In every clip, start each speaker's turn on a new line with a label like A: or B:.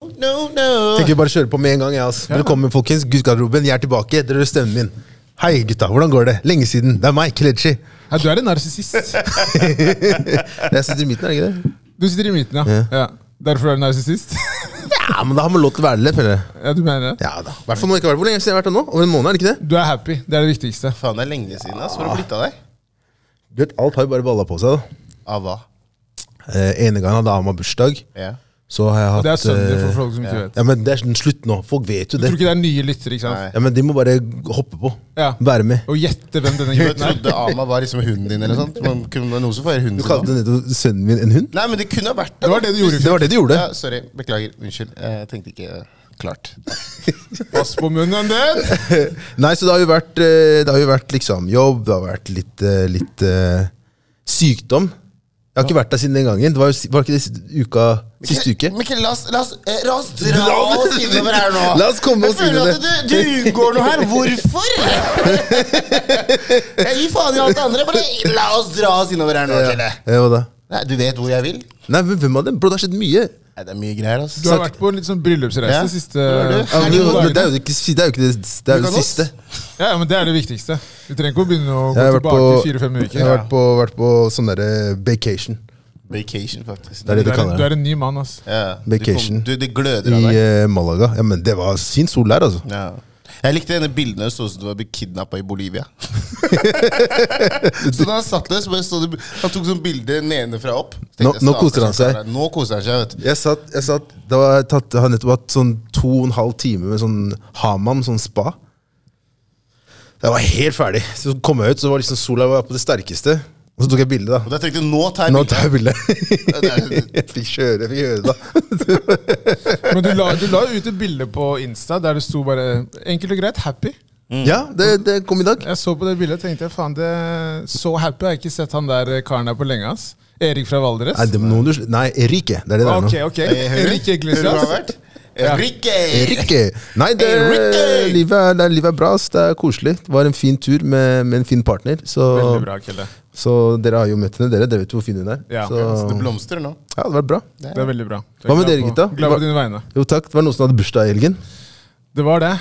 A: no, no.
B: Tenker vi bare kjører på med en gang. Jeg, ass. Velkommen, folkens. Guttgarderoben, jeg er tilbake. Dere hører stemmen min. Hei, gutta. Hvordan går det? Lenge siden. Det er meg, Kelechi.
C: Ja, du er en narsissist.
B: Jeg sitter i midten, er det ikke det?
C: Du sitter i midten, ja. ja. Derfor er du narsissist?
B: Ja, men da har man lov til å være det, føler jeg.
C: ja, du mener det?
B: Ja da. I hvert fall nå ikke vært Hvor lenge siden har jeg vært her nå? Over en måned, er det ikke det?
C: Du er happy. Det er det viktigste.
A: Faen, det er lenge siden. ass. Hvor har du blitt av deg?
B: Du vet, alt har jo bare balla på seg, da.
A: Av hva?
B: Eh, ene gangen hadde Ama bursdag.
A: Ja.
B: Så har jeg hatt
C: Det er søndag for
B: eh,
C: folk som ikke vet.
B: Ja, men det er sånn, slutt nå. Folk vet jo
C: Jeg
B: det.
C: tror ikke det er nye lyttere, ikke sant?
A: Nei.
B: Ja, men de må bare hoppe på.
C: Ja.
B: Være med.
C: Og gjette hvem denne
A: Jeg
C: gutten er.
A: trodde Ama var liksom hunden din, eller sånt. Man kunne noe som feirer hunden sin.
B: Du
A: da.
B: kalte nettopp sønnen min en hund?
A: Nei, men det kunne ha vært
C: Det var det du gjorde i
B: Det
C: fjor.
B: var det du gjorde.
A: Ja, sorry. Beklager. Unnskyld. Jeg tenkte ikke eh, klart.
C: Pass på munnen din!
B: Nei, så det har jo vært, eh, det har jo vært liksom jobb, det har vært litt, eh, litt eh, sykdom. Jeg har ikke vært der siden den gangen. Det var, jo, si- var ikke det siste uka, siste uke?
A: Mikkel, la oss, la oss, eh, la oss dra oss innover her nå.
B: La oss komme
A: Jeg
B: oss
A: føler
B: innover.
A: at Du, du unngår noe her. Hvorfor? Jeg gir faen i alt det andre. Bare la oss dra oss innover her nå, Kjelle.
B: Ja, Eh, hva da?
A: Nei, du vet hvor jeg vil?
B: Nei, men hvem av dem? Bro, det har skjedd mye.
A: Nei, det er mye greier,
C: Du
A: altså.
C: har vært på en litt sånn bryllupsreise
A: Ja.
C: siste
A: Hvor er du?
B: Ja, men,
C: de
B: det-
C: dagene.
B: men det er jo ikke, det, er jo ikke det, det, er
A: Du
B: jo
A: kan
B: det siste.
C: Ja, ja, men det er det viktigste. Vi trenger ikke å begynne å gå
B: Jeg har vært på,
C: tilbake til fire-fem uker.
B: jeg har vært på, vært på sånn derre vacation
A: Vacation, faktisk.
B: Det er det
C: Du,
B: de
C: er, en-
B: kaller
C: du
B: det.
C: er en ny mann, ass.
A: Ja,
B: Vacation.
A: Du, kom, du, det gløder
B: I
A: av deg.
B: eh, Malaga. Ja, men det var fin sol der, altså.
A: Ja. Jeg likte denne bildene det så ut som du var kidnappa i Bolivia. så da han satt der, så bare stod det, han tok sånn bilde nedenfra opp. Så
B: Nå-
A: tenkte jeg,
B: nå koser han
A: "Stakkars,
B: seg."
A: Nå koser han seg, vet du.
B: Jeg satt, jeg satt Det var tatt, jeg har nettopp hatt sånn to og en halv time med sånn Hamam, sånn spa. Jeg var helt ferdig. Så kom jeg ut, så var liksom sola var på det sterkeste. Og så tok jeg bilde,
A: Og
B: da.
A: da tenkte jeg, nå tar jeg
B: Nå
A: bildet.
B: tar jeg bilde.
A: det
B: Jeg fikk kjøre, jeg fikk høre det, da.
C: Men du la, du la ut et bilde på Insta der det sto bare enkelt og greit 'happy'.
B: Ja, det, det kom i dag.
C: Jeg så på det bildet og tenkte jeg, faen, det så happy har jeg ikke sett han der eh, karen her på lenge. ass. Erik fra Valdres.
B: Nei, det må noen du sl- Nei, Erike. Det er det der
C: Ok,
B: nå.
C: ok.
A: Eh, hører du?
C: Erik
A: Hører du hva det har
C: Iglesias.
A: vært? Enrique!
B: Erike. Nei, det,
A: Erike!
B: livet, er, det, er- livet er bra. ass. Det er koselig. Det var en fin tur med, med en fin partner. Så,
C: Veldig bra, Kelle.
B: så dere har jo møtt henne, dere. Dere vet jo hvor fin hun er.
C: Ja.
B: Så
A: Så det
B: ja,
A: blomstrer nå.
B: det hadde vært bra.
C: Det er veldig bra. Jeg er
B: Hva med
C: glad
B: dere,
C: på-
B: gutta?
C: Glad
B: Hva-
C: på dine vegne.
B: Jo takk, det var noen som hadde bursdag i helgen.
C: Det var det.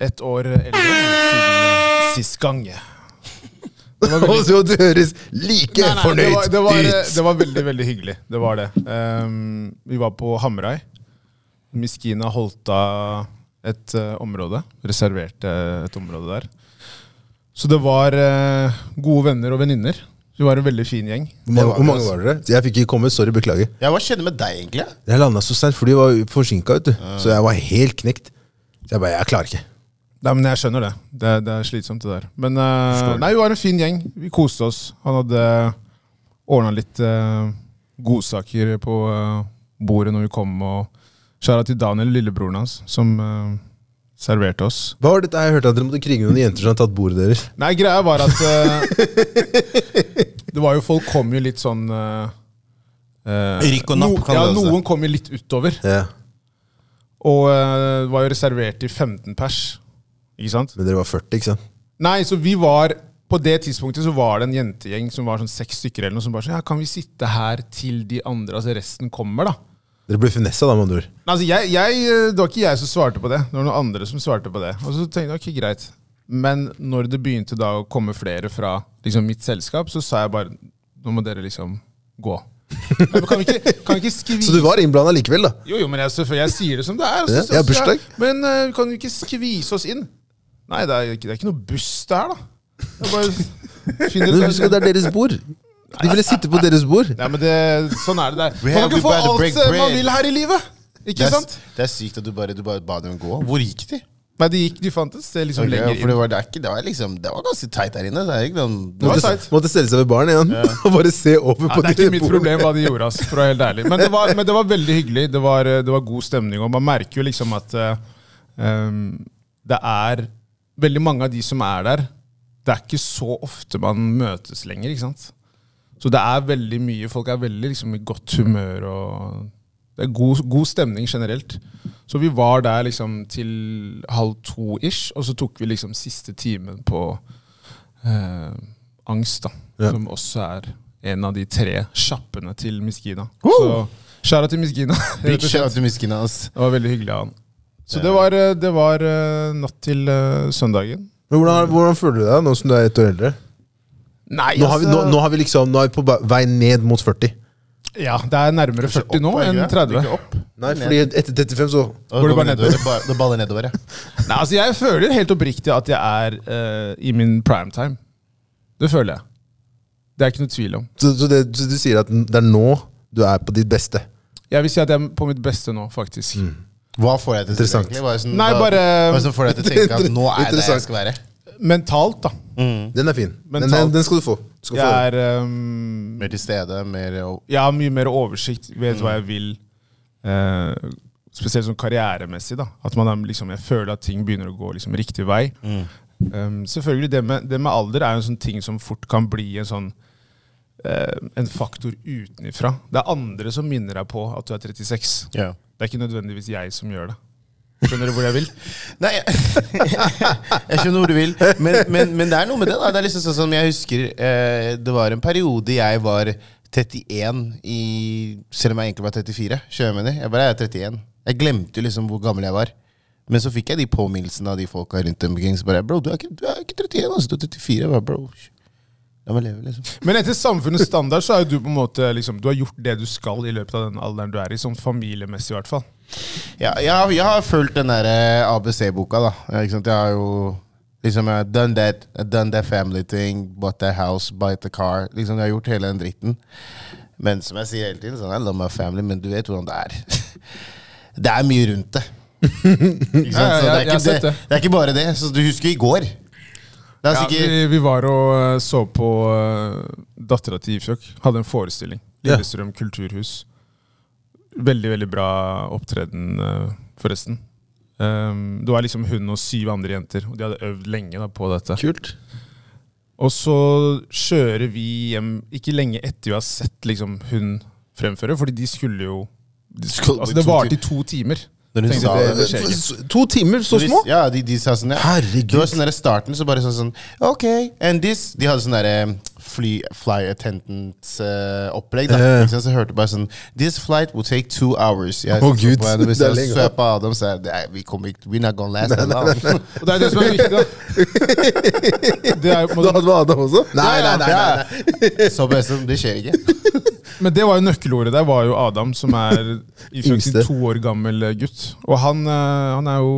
C: Ett år eldre siden sist gang. Det var
B: Og
C: veldig
B: så du høres like
C: Nei, nei,
B: fornøyd
C: det var, det, var, eh,
B: ut!
C: det var veldig, veldig hyggelig. Det var det. Ehm, vi var på Hamrai. Miskina holdt av et eh, område. Reserverte et område der. Så det var eh, gode venner og venninner. Vi var en veldig fin gjeng.
B: Hvor mange, hvor mange var dere? Så Jeg fikk ikke komme, sorry, beklager.
A: Ja, hva skjedde med deg, egentlig?
B: Jeg landa så seint, for de var forsinka, vet du. Så jeg var helt knekt. Så jeg bare, jeg klarer ikke.
C: Nei, men Jeg skjønner det. Det, det er slitsomt, det der. Men eh, nei, vi var en fin gjeng. Vi koste oss. Han hadde ordna litt eh, godsaker på eh, bordet når vi kom. Og skjæra til Daniel, lillebroren hans, som eh, serverte oss.
B: Hva var dette jeg hørte at dere måtte krige med noen jenter som hadde tatt bordet deres?
C: Nei, greia var at eh, Det var jo Folk kom jo litt sånn uh,
A: Rykk og napp, kan
C: ja,
A: det også.
C: Noen kom jo litt utover.
B: Ja,
C: Og eh, var jo reservert til 15 pers. Ikke sant?
B: Men dere var 40, ikke sant?
C: Nei, så vi var På det tidspunktet så var det en jentegjeng som var sånn seks stykker eller noe, som bare sånn Ja, kan vi sitte her til de andre, altså resten kommer, da?
B: Dere ble finessa, da, med andre ord.
C: Nei, altså jeg, jeg, Det var ikke jeg som svarte på det. Det var noen andre som svarte på det. Og så tenkte jeg, ok, greit. Men når det begynte da å komme flere fra liksom mitt selskap, så sa jeg bare Nå må dere liksom gå. Nei, men kan vi ikke, kan vi ikke skvise
B: Så du var innblanda likevel, da?
C: Jo, jo, men jeg, selvfølgelig, jeg sier det som det er. og
B: Ja,
C: så- så-
B: jeg har bursdag.
C: så- Men eh, vi kan jo ikke skvise oss inn? Nei, det er, ikke- det er ikke noe buss der, da. Jeg bare finner
B: Men husk at det er deres bord. De ville sitte på deres bord.
C: Nei, men det, sånn er det der.
A: We
C: Man
A: have to
C: kan ikke få
A: buy the break
C: alt eh, man
A: bread.
C: vil her i livet. Ikke
A: Det er,
C: sant?
A: det er sykt at du bare, du bare ba dem gå. Hvor gikk de?
C: Nei, de gikk, de fant et sted liksom
A: Ok, ja,
C: lenger
A: for
C: inn.
A: det var, det, er ikke, det, var liksom, det var ganske teit der inne. Det er ikke noen-
C: var
B: Måtte,
C: teit.
B: måtte stelle seg ved baren igjen og bare se over på
C: Ja, det er ikke
B: deres
C: mitt
B: bord.
C: problem hva de gjorde, ass, for å være helt ærlig. Men det var, men det var veldig hyggelig. Det var, eh, det var god stemning. Og man merker jo liksom at eh, ehm, det er Veldig mange av de som er der, det er ikke så ofte man møtes lenger, ikke sant? Så det er veldig mye. Folk er veldig liksom i godt humør og Det er god, god stemning generelt. Så vi var der liksom til halv to ish, og så tok vi liksom siste timen på eh, angst, da.
B: Ja.
C: Som også er en av de tre sjappene til Miskina. Så Skjæra til Miskina.
A: Big
C: det
A: shout til Miskina, ass.
C: var veldig hyggelig av han. Så det var, eh, det var eh, natt til eh, søndagen.
B: Men hvordan, hvordan føler du deg nå som du er ett år eldre?
C: Nei, altså,
B: Nå har vi, nå, nå har vi liksom, nå er vi på ba- vei ned mot 40.
C: Ja, det er nærmere 40 nå
A: opp, er det
C: enn
A: ikke det?
C: 30.
A: Ikke opp.
B: Nei, fordi etter 35 så
A: Og
C: Går det
A: det bare nedover?
C: bare
A: Det bare- Det baller nedover, ja.
C: Nei, altså Jeg føler helt oppriktig at jeg er eh, i min prime time. Det føler jeg. Det er ikke noe tvil om.
B: Så, så, det, så du sier at det er nå du er på ditt beste?
C: Jeg vil si at jeg er på mitt beste nå, faktisk.
A: Hva får deg til å si det,
B: Interessant.
A: egentlig? Hva er det som,
C: Nei,
A: hva-
C: bare-
A: Hva er det som får deg til å tenke at nå er jeg der jeg
B: Interessant.
A: skal være?
C: Mentalt, da.
B: Den er fin. Den,
C: Mentalt.
B: den, den skal du få. Du Skal få den.
C: Jeg er ehm,
A: Mer til stede, mer og
C: Jeg har mye mer oversikt, vet hva jeg vil. Eh, spesielt sånn karrieremessig. da At man er, liksom, Jeg føler at ting begynner å gå liksom, riktig vei. Um, selvfølgelig, det med, det med alder er jo en sånn ting som fort kan bli en sånn eh, en faktor utenifra. Det er andre som minner deg på at du er 36.
A: Ja.
C: Det er ikke nødvendigvis jeg som gjør det. Skjønner du hvor jeg vil?
A: Nei, jeg, jeg skjønner hvor du vil, men, men, men det er noe med det. da Det er liksom sånn som jeg husker eh, Det var en periode jeg var 31 i Selv om jeg egentlig var 34. Skjønner du hva jeg mener? Jeg bare er 31. Jeg glemte jo liksom hvor gammel jeg var. Men så fikk jeg de påminnelsene av de folka rundt omkring. Så bare Bro, du er ikke, du er ikke 31, altså. Du er 34. Jeg bare, bro, la meg leve, liksom.
C: Men etter samfunnets standard så er jo du på en måte liksom, Du har gjort det du skal i løpet av den alderen du er i, sånn familiemessig i hvert fall.
A: Ja, jeg, har- jeg har fulgt den der eh, ABC-boka, da. Eh, Ikke sant? Jeg har jo liksom jeg har done that, I've done that family thing, bought that house, bought the car. Liksom Jeg har gjort hele den dritten. Men som jeg sier hele tiden, sånn, I love my family, men du vet hvordan det er. Det er mye rundt det. Ikke sant? Så
C: Ja,
A: det, er
C: ja, jeg- jeg har
A: ikke,
C: sett
A: det,
C: det.
A: det er ikke bare det. Så du husker i går. Det er
C: Ja,
A: sikkert
C: vi, vi var og eh, så på uh, Dattera til Ifjok. Hadde en forestilling.
B: Ja.
C: Lillestrøm kulturhus. Veldig, veldig bra opptreden, eh, forresten. Um, det var liksom hun og syv andre jenter, og de hadde øvd lenge da, på dette.
B: Kult.
C: Og så kjører vi hjem ikke lenge etter vi har sett liksom, hun fremføre, fordi de skulle jo de
A: Skulle bli
C: skulle, altså, Det
A: to
C: varte i to timer.
A: Når hun
C: Tenkte
A: sa
C: jeg,
A: det,
C: det, det skjer ikke.
B: To timer, så små?
A: Ja, de, de sa sånn ja.
B: Herregud.
A: Det var sånn der i starten, så bare sånn sånn Ok, and this De hadde sånn derre eh, fly, fly attendant-opplegg, da.
B: Ja, ja.
A: Ikke sant? så jeg hørte bare sånn This flight will take two hours. Jeg
B: Å,
A: så
B: Gud,
A: på henne, Hvis
B: det er
A: jeg
B: lenge.
A: så på Adam, så jeg Nei, vi kommer ikke We're not gonna last that long.
C: Og det er det som er viktig, da. Det er, jo på
B: Du
C: en måte-
B: hadde med Adam også? Nei, nei, nei. nei, nei.
A: Så bare sånn, det skjer ikke.
C: Men det var jo nøkkelordet der, var jo Adam, som er i faktisk
B: Yngste.
C: to år gammel eh, gutt. Og han, eh, han er jo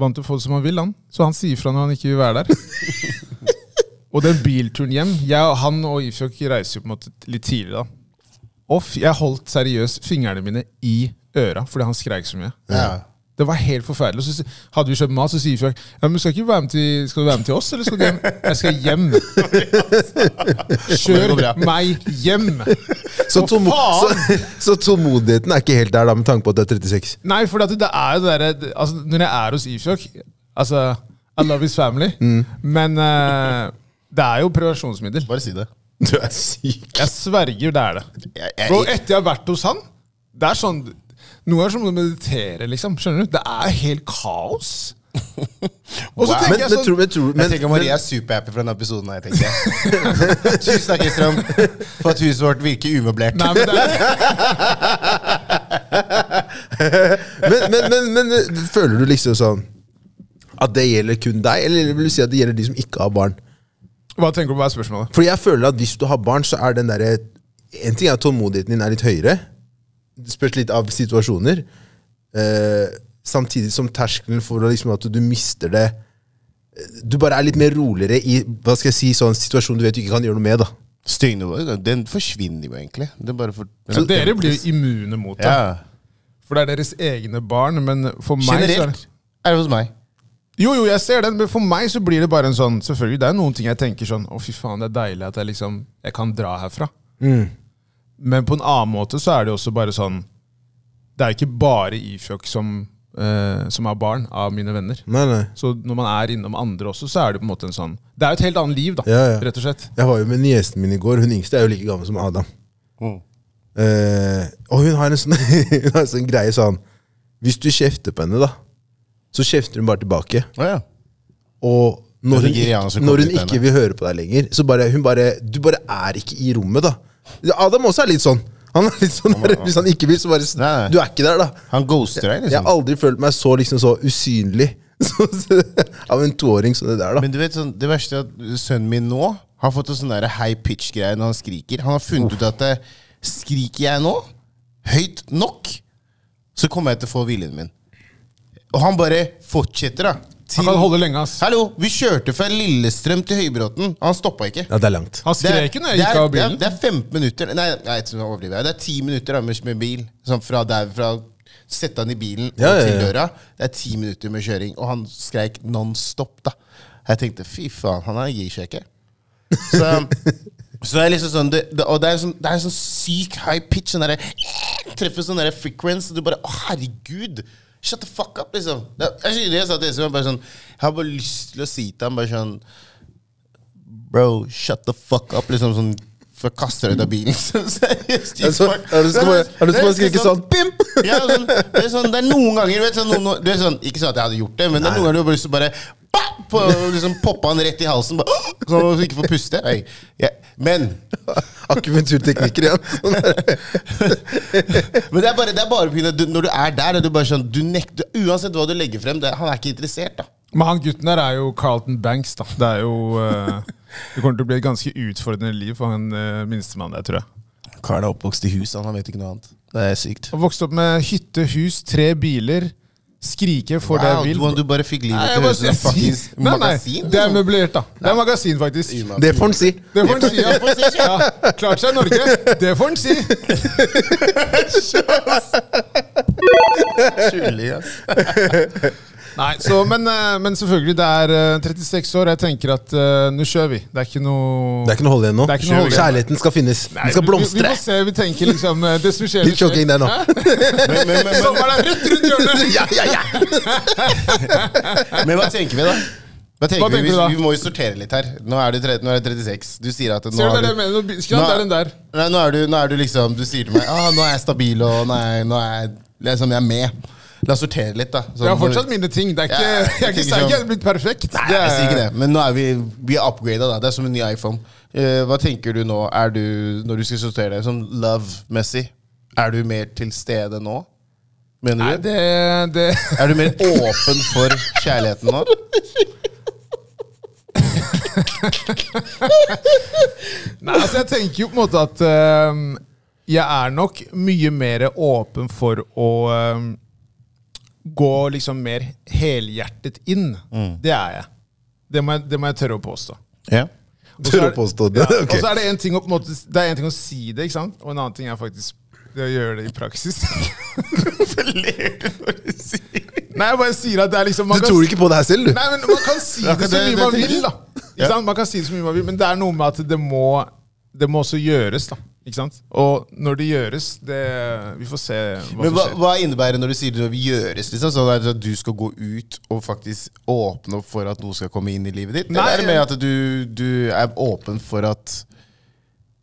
C: vant til å få det som han vil, han. Så han sier fra når han ikke vil være der. og den bilturen hjem jeg, og Han og Ifjok reiser jo på en måte litt tidligere, da. Og f- jeg holdt seriøst fingrene mine i øra fordi han skreik så mye.
A: Ja.
C: Det var helt forferdelig. Og Så s- hadde vi kjøpt mat, så sier Ifjok ja, men skal, ikke du være med til, skal du være med til oss, eller skal du hjem? Jeg skal hjem.
A: går bra.
C: Kjør meg hjem!
B: Så,
C: Å,
B: tålmo-
C: faen!
B: så, så tålmodigheten er ikke helt der, da, med tanke på at du er 36.
C: Nei, for det, det er jo det derre altså, Når jeg er hos Ifjok Altså, I love his family.
A: Mm.
C: Men eh, det er jo prevensjonsmiddel.
A: Bare si det.
B: Du er syk. eh.
C: Jeg sverger det er det.
A: Jeg, jeg,
C: Og etter jeg har vært hos han Det er sånn Noe er som å meditere, liksom. Skjønner du? Det er helt kaos. Og så
A: Wow.
B: Men,
C: tenker
B: men,
C: jeg
B: tror,
C: sånn
B: men, tror,
A: jeg
B: men,
A: tenker Marie er superhappy for denne episoden. her, tenker jeg Tusen takk, Istrøm, for at huset vårt virker umøblert.
C: Nei, men det er,
B: men, men, men, men eh, føler du liksom sånn at det gjelder kun deg, eller vil du si at det gjelder de som ikke har barn?
C: hva tenker du på hva er spørsmålet?
B: Fordi jeg føler at hvis du har barn, så er den derre En ting er at tålmodigheten din er litt høyere. Det spørs litt av situasjoner. Eh, samtidig som terskelen for å liksom at du mister det Du bare er litt mer roligere i hva skal jeg si, sånn situasjon du vet du ikke kan gjøre noe med. da
A: Støynivået den forsvinner jo egentlig. Den bare for,
C: Så dere blir jo immune mot det.
A: ja.
C: For det er deres egne barn. Men for meg så er det
A: Generelt er det hos meg.
C: Jo, jo, jeg ser den, men for meg så blir det bare en sånn Selvfølgelig, det er noen ting jeg tenker sånn Å, fy faen, det er deilig at jeg liksom Jeg kan dra herfra.
A: Mm.
C: Men på en annen måte så er det jo også bare sånn Det er jo ikke bare Ifjok som, eh, som er barn av mine venner.
B: Nei, nei.
C: Så når man er innom andre også, så er det på en måte en sånn Det er jo et helt annet liv, da.
B: Ja, ja.
C: Rett og slett.
B: Jeg var jo med niesen min i går. Hun yngste er jo like gammel som Adam. Eh, og hun har en sånn, hun har en sånn greie sånn Hvis du kjefter på henne, da, så kjefter hun bare tilbake.
A: Å ja.
B: Og når
A: Det er
B: hun,
A: nigerianer
B: ikke,
A: som kommer
B: når hun
A: til
B: ikke vil høre på deg lenger, så bare, hun bare, du bare er ikke i rommet, da. Adam også er litt sånn. Han er litt sånn der, Hvis han ikke vil, så bare s-
A: Nei, nei.
B: Du er ikke der, da.
A: Han ghoster deg,
B: Jeg har
A: liksom.
B: aldri følt meg så liksom så usynlig av en toåring som det der, da.
A: Men du vet, sånn, det verste er at sønnen min nå har fått en sånn der high pitch-greie når han skriker. Han har funnet ut at eh, skriker jeg nå høyt nok, så kommer jeg til å få viljen min. Og han bare fortsetter, da.
C: Han kan holde lenge, ass.
A: Hallo, vi kjørte fra Lillestrøm til Høybråten. Han stoppa ikke.
B: Ja, det er langt.
C: Han
A: Det er-
C: skrek jo når jeg
A: det er-
C: gikk av
A: det er-
C: bilen.
A: Det er 15 minutter Nei, nei jeg tror jeg overdriver. jeg. det er 10 minutter Anders med bil. Sånn fra der fra Sette han i bilen og
B: Ja, ja, ja.
A: til døra. Det er 10 minutter med kjøring, og han skreik nonstop. da Jeg tenkte fy faen, han er- gir seg ikke. Så, så det er liksom sånn det, det, Og det er sånn, det er sånn syk high pitch. Sånn derre Treffer sånn derre frequence, og du bare Å, herregud! Shut the fuck up, liksom. Det er- Jeg, skjønner, jeg sa til Espen jeg bare sånn Jeg har bare lyst til å si til ham bare sånn Bro, shut the fuck up. Liksom sånn For jeg kaster deg ut av bilen. Sånn seriøst.
B: Jeg så- jeg har lyst til å bare- jeg har lyst til å bare skrike sånn, «Pimp!»
A: Ja, sånn, det, er sånn, det er noen ganger vet, du, sånn, noen, noen- det er sånn, Ikke sånn at jeg hadde gjort det, men det er noen ganger du har bare lyst til å bare bap, på, liksom, poppe han rett i halsen. Bare, sånn at du ikke får puste. Nei. Ja. Men,
B: Akupunkturteknikker igjen. Sånn der.
A: men det er bare, det er bare på grunn av at du, når du er der, er du bare sånn du nekter, Uansett hva du legger frem, det, han er ikke interessert. da
C: Men han gutten der er jo Carlton Banks, da. Det er jo eh, Det kommer til å bli et ganske utfordrende liv for han uh, minstemann der, tror jeg.
A: Karen er oppvokst i hus, han vet ikke noe annet. Det er sykt.
C: Han vokste opp med hytte, hus, tre biler. Skrike for det
A: Wow,
C: jeg
A: du,
C: vil.
A: du bare fikk
C: Nei,
A: livet
C: jeg
A: til å
C: bare
A: høres ut som et
C: sier-
A: fuckings
C: Nei, nei,
A: magasin.
C: Det er
A: liksom.
C: møblert, da. Det er magasin, faktisk.
B: Det får han si.
C: Det får han si.
A: Det får han si,
C: Ja. Ja. Klart seg i Norge. Det får han si.
A: Tullig, ass.
C: Nei, så, men, eh, men selvfølgelig, det er eh, 36 år. Jeg tenker at eh, nå kjører vi. Det er ikke noe
B: Det er ikke noe å holde igjen nå.
C: Det er ikke noe å holde igjen.
B: Kjærligheten skal finnes.
C: Nei,
B: Den skal
C: vi- Vi, vi
B: blomstre.
C: får se, vi tenker liksom eh, Det som skjer,
B: Litt jogging der nå.
A: Men, men, men, men,
C: Sommeren er rett rundt hjørnet!
B: Ja, ja, ja.
A: Men hva tenker vi, da? Hva tenker
C: Hva tenker
A: vi? Vi,
C: du da?
A: vi må jo sortere litt her. Nå er du, tre, nå er du 36. Du sier at nå
C: Ser du
A: har
C: det jeg mener? Nå begynner- Skram, det er den der.
A: Nei, nå, er du, nå er du liksom Du sier til meg ah, nå er jeg stabil, og nå er, jeg- nå er jeg liksom, jeg er med. La oss sortere litt, da. Sånn,
C: Jeg har fortsatt mine ting. Det er ikke,
A: Ja,
C: jeg, er ikke,
A: tenker
C: jeg er
A: sånn.
C: ikke blitt perfekt.
A: Nei, jeg sier ikke det, men nå er vi, vi er upgrada, da. Det er som en ny iPhone. Eh, hva tenker du nå, er du, når du skal sortere deg, sånn love-messig? Er du mer til stede nå? Mener
C: Nei,
A: du?
C: det, det
A: Er du mer åpen for kjærligheten nå?
C: Nei, altså, jeg tenker jo på en måte at ehm, jeg er nok mye mer åpen for å ehm, gå liksom mer helhjertet inn. Det er jeg. Det må jeg, det må jeg tørre å påstå.
A: Mm. Ja.
B: Tør å påstå det.
C: Ja,
B: Ok.
C: Og så er det en ting å, på en måte, det er en ting å si det, ikke sant? og en annen ting er faktisk det å gjøre det i praksis.
A: Hvorfor ler du når du sier det?
C: Nei, jeg bare sier at det er liksom
B: Du
C: man kan,
B: tror ikke på det her selv, du?
C: Nei, men man kan si
A: Ja,
C: det så
A: det-
C: mye
A: det
C: man
A: tenker
C: vil,
A: jeg.
C: da. Ikke
A: Ja.
C: sant? Man kan si det så mye man vil, men det er noe med at det må, det må også gjøres, da. Ikke sant? Og når det gjøres, det Vi får se hva
A: Men
C: som
A: hva,
C: skjer.
A: hva innebærer det når du sier det vil gjøres? Liksom, sånn er det at du skal gå ut og faktisk åpne opp for at noe skal komme inn i livet ditt?
C: Nei,
A: Eller er det mer at du, du er åpen for at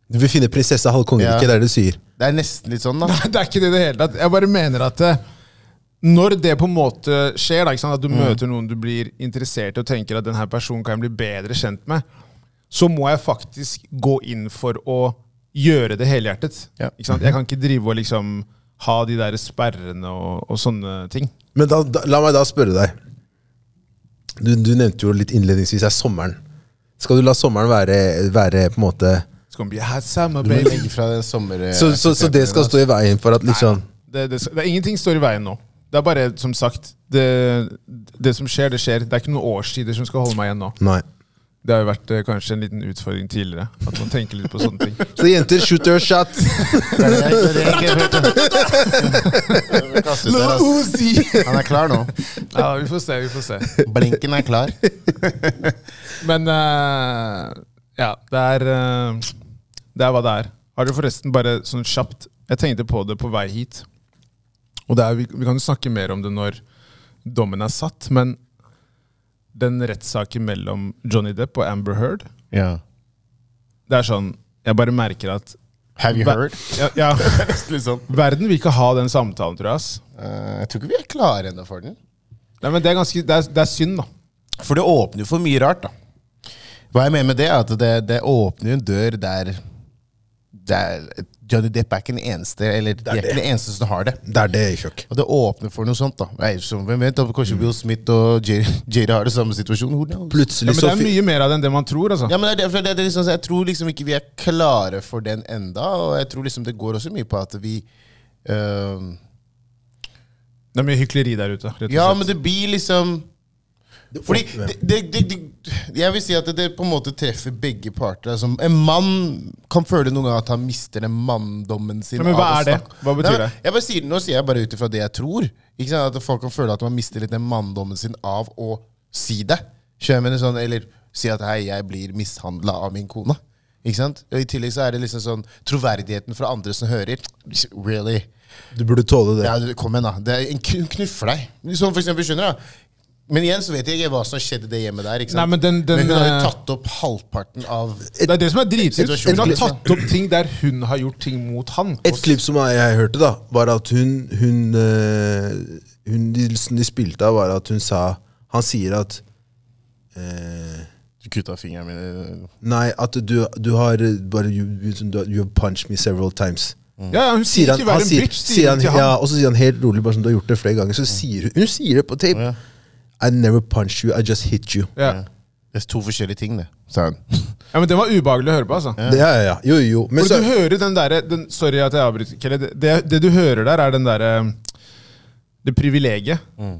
B: Du vil finne prinsesse halv kongeriket,
A: Ja.
B: det er det du sier.
A: Det er nesten litt sånn, da.
C: Nei, det er ikke det i det hele tatt. Jeg bare mener at eh, når det på en måte skjer, da, ikke sant? at du
A: Mm.
C: møter noen du blir interessert i og tenker at denne personen kan jeg bli bedre kjent med, så må jeg faktisk gå inn for å gjøre det helhjertet.
A: Ja.
C: Ikke sant? Jeg kan ikke drive og liksom ha de der sperrene og, og sånne ting.
B: Men da, da, la meg da spørre deg. Du, du nevnte jo litt innledningsvis her sommeren. Skal du la sommeren være, være på en måte
C: Så kan vi ha summer,
A: Du må
C: baby.
A: legge fra den sommer...
B: så, så, så det skal
C: altså.
B: stå i veien for at liksom
C: Det, det, det, er ingenting står i veien nå. Det er bare, som sagt, det, det som skjer, det skjer. Det er ikke noen årstider som skal holde meg igjen nå.
B: Nei.
C: Det har jo vært eh, kanskje en liten utfordring tidligere. At man tenker litt på sånne ting.
B: Så jenter, shoot your shot!
A: Kastet der, ass. Han er klar nå.
C: Ja, vi får se, vi får se.
A: Blinken er klar.
C: Men eh, ja, det er eh, Det er hva det er. Har du forresten bare sånn kjapt Jeg tenkte på det på vei hit. Og det er, vi, vi kan jo snakke mer om det når dommen er satt, men den rettssaken mellom Johnny Depp og Amber Heard Det er sånn Jeg bare merker at
A: Have you
C: Hva-
A: heard?
C: ja, ja,
A: Nesten litt sånn.
C: Verden vil ikke ha den samtalen, tror jeg. ass.
A: Eh, jeg tror ikke vi er klare ennå for den.
C: Nei, men det er, ganske, det er, det er synd, da.
A: For det åpner jo for mye rart, da. Hva jeg mener med det, er at det, det åpner jo en dør der det er et Johnny Depp er ikke den eneste Eller de er
B: det.
A: ikke den eneste som har det.
B: Det er det i kjøkk.
A: Og det åpner for noe sånt. da Nei, så, Hvem vet? da,
B: Mm.
A: Kanskje Will Smith og Jada har det samme situasjonen? Who knows?
C: Ja,
B: Plutselig
C: men
B: så
C: det er
B: fi-
C: mye mer av det enn det man tror. altså.
A: Ja, men det er derfor det er liksom, Jeg tror liksom ikke vi er klare for den enda Og jeg tror liksom det går også mye på at vi øhm,
C: Det er mye hykleri der ute. rett og
A: Ja,
C: slett.
A: men det blir liksom Fordi det, det, det, det, Jeg vil si at det, det på en måte treffer begge parter. Altså, en mann kan føle noen ganger at han mister den manndommen sin.
C: Ja, men hva
A: av å
C: er det?
A: snakke-
C: Hva betyr
A: Nei, men
C: det?
A: Jeg bare sier, det nå sier jeg bare ut ifra det jeg tror. Ikke sant? At folk kan føle at man mister litt den manndommen sin av å si det. Skjønner jeg mener sånn, Eller si at 'hei, jeg blir mishandla av min kone'. Ikke sant? Og I tillegg så er det liksom sånn troverdigheten fra andre som hører. Really?
B: Du burde tåle det.
A: Ja, du, kom igjen, da. Det er en kn- knuff for deg. Som for eksempel, skjønner du? Men igjen så vet jeg ikke hva som skjedde i det hjemmet der. ikke sant?
C: Nei, men den- den,
A: hun har jo
C: eh,
A: tatt opp halvparten av
C: Det er det som er dritsykt.
A: Situasjonen.
C: Hun har tatt opp ting der hun har gjort ting mot han.
B: Et klipp som jeg, jeg hørte, da, var at hun, hun, eh, hun de, de spilte av, var at hun sa Han sier at eh,
A: Du kutta fingeren min.
B: Nei, at du, du har eh, bare you, you, du har- you have punched me several times.
C: Ja, ja, Hun sier ikke 'vær en
B: sier,
C: bitch',
B: sier
C: sier hun
B: han,
C: til
B: ja,
C: han.
B: og så sier han helt rolig, bare som du har gjort det flere ganger, så sier hun Hun sier det på tape.
A: Ja.
B: I never punched you, I just hit you.
C: Ja.
A: Det er to forskjellige ting, det, sa hun.
C: ja, men Det var ubehagelig å høre på. altså.
B: Ja, ja, ja. Jo, jo, jo. Men
C: For
B: så,
C: du hører den derre den- Sorry at jeg avbryter, Kelle. Det, det, det du hører der, er den derre Det privilegiet.
B: Mm.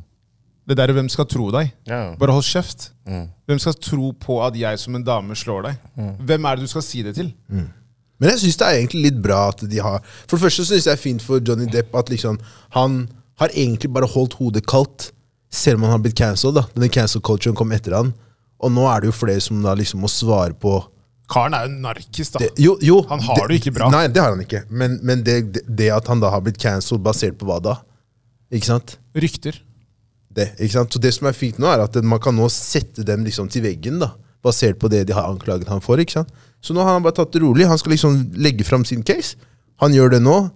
C: Det derre 'hvem skal tro deg'?
A: Ja.
C: Bare hold kjeft.
B: Mm.
C: Hvem skal tro på at jeg som en dame slår deg? Hvem er det du skal si det til?
B: Men jeg syns det er egentlig litt bra at de har For det første syns jeg det er fint for Johnny Depp at liksom han har egentlig bare holdt hodet kaldt, selv om han har blitt cancelled. da. Denne cancel culturen kom etter han. Og nå er det jo flere som da liksom må svare på
C: Karen er jo en narkis, da.
B: det. Jo, jo,
C: Han har det jo ikke bra.
B: Nei, det har han ikke. Men, men det, det, det at han da har blitt cancelled, basert på hva da? Ikke sant?
C: Rykter.
B: Det, ikke sant? Så det som er fint nå, er at man kan nå sette dem liksom til veggen, da, basert på det de har anklaget han for. ikke sant? Så nå har han bare tatt det rolig. Han skal liksom legge fram sin case. Han gjør det nå.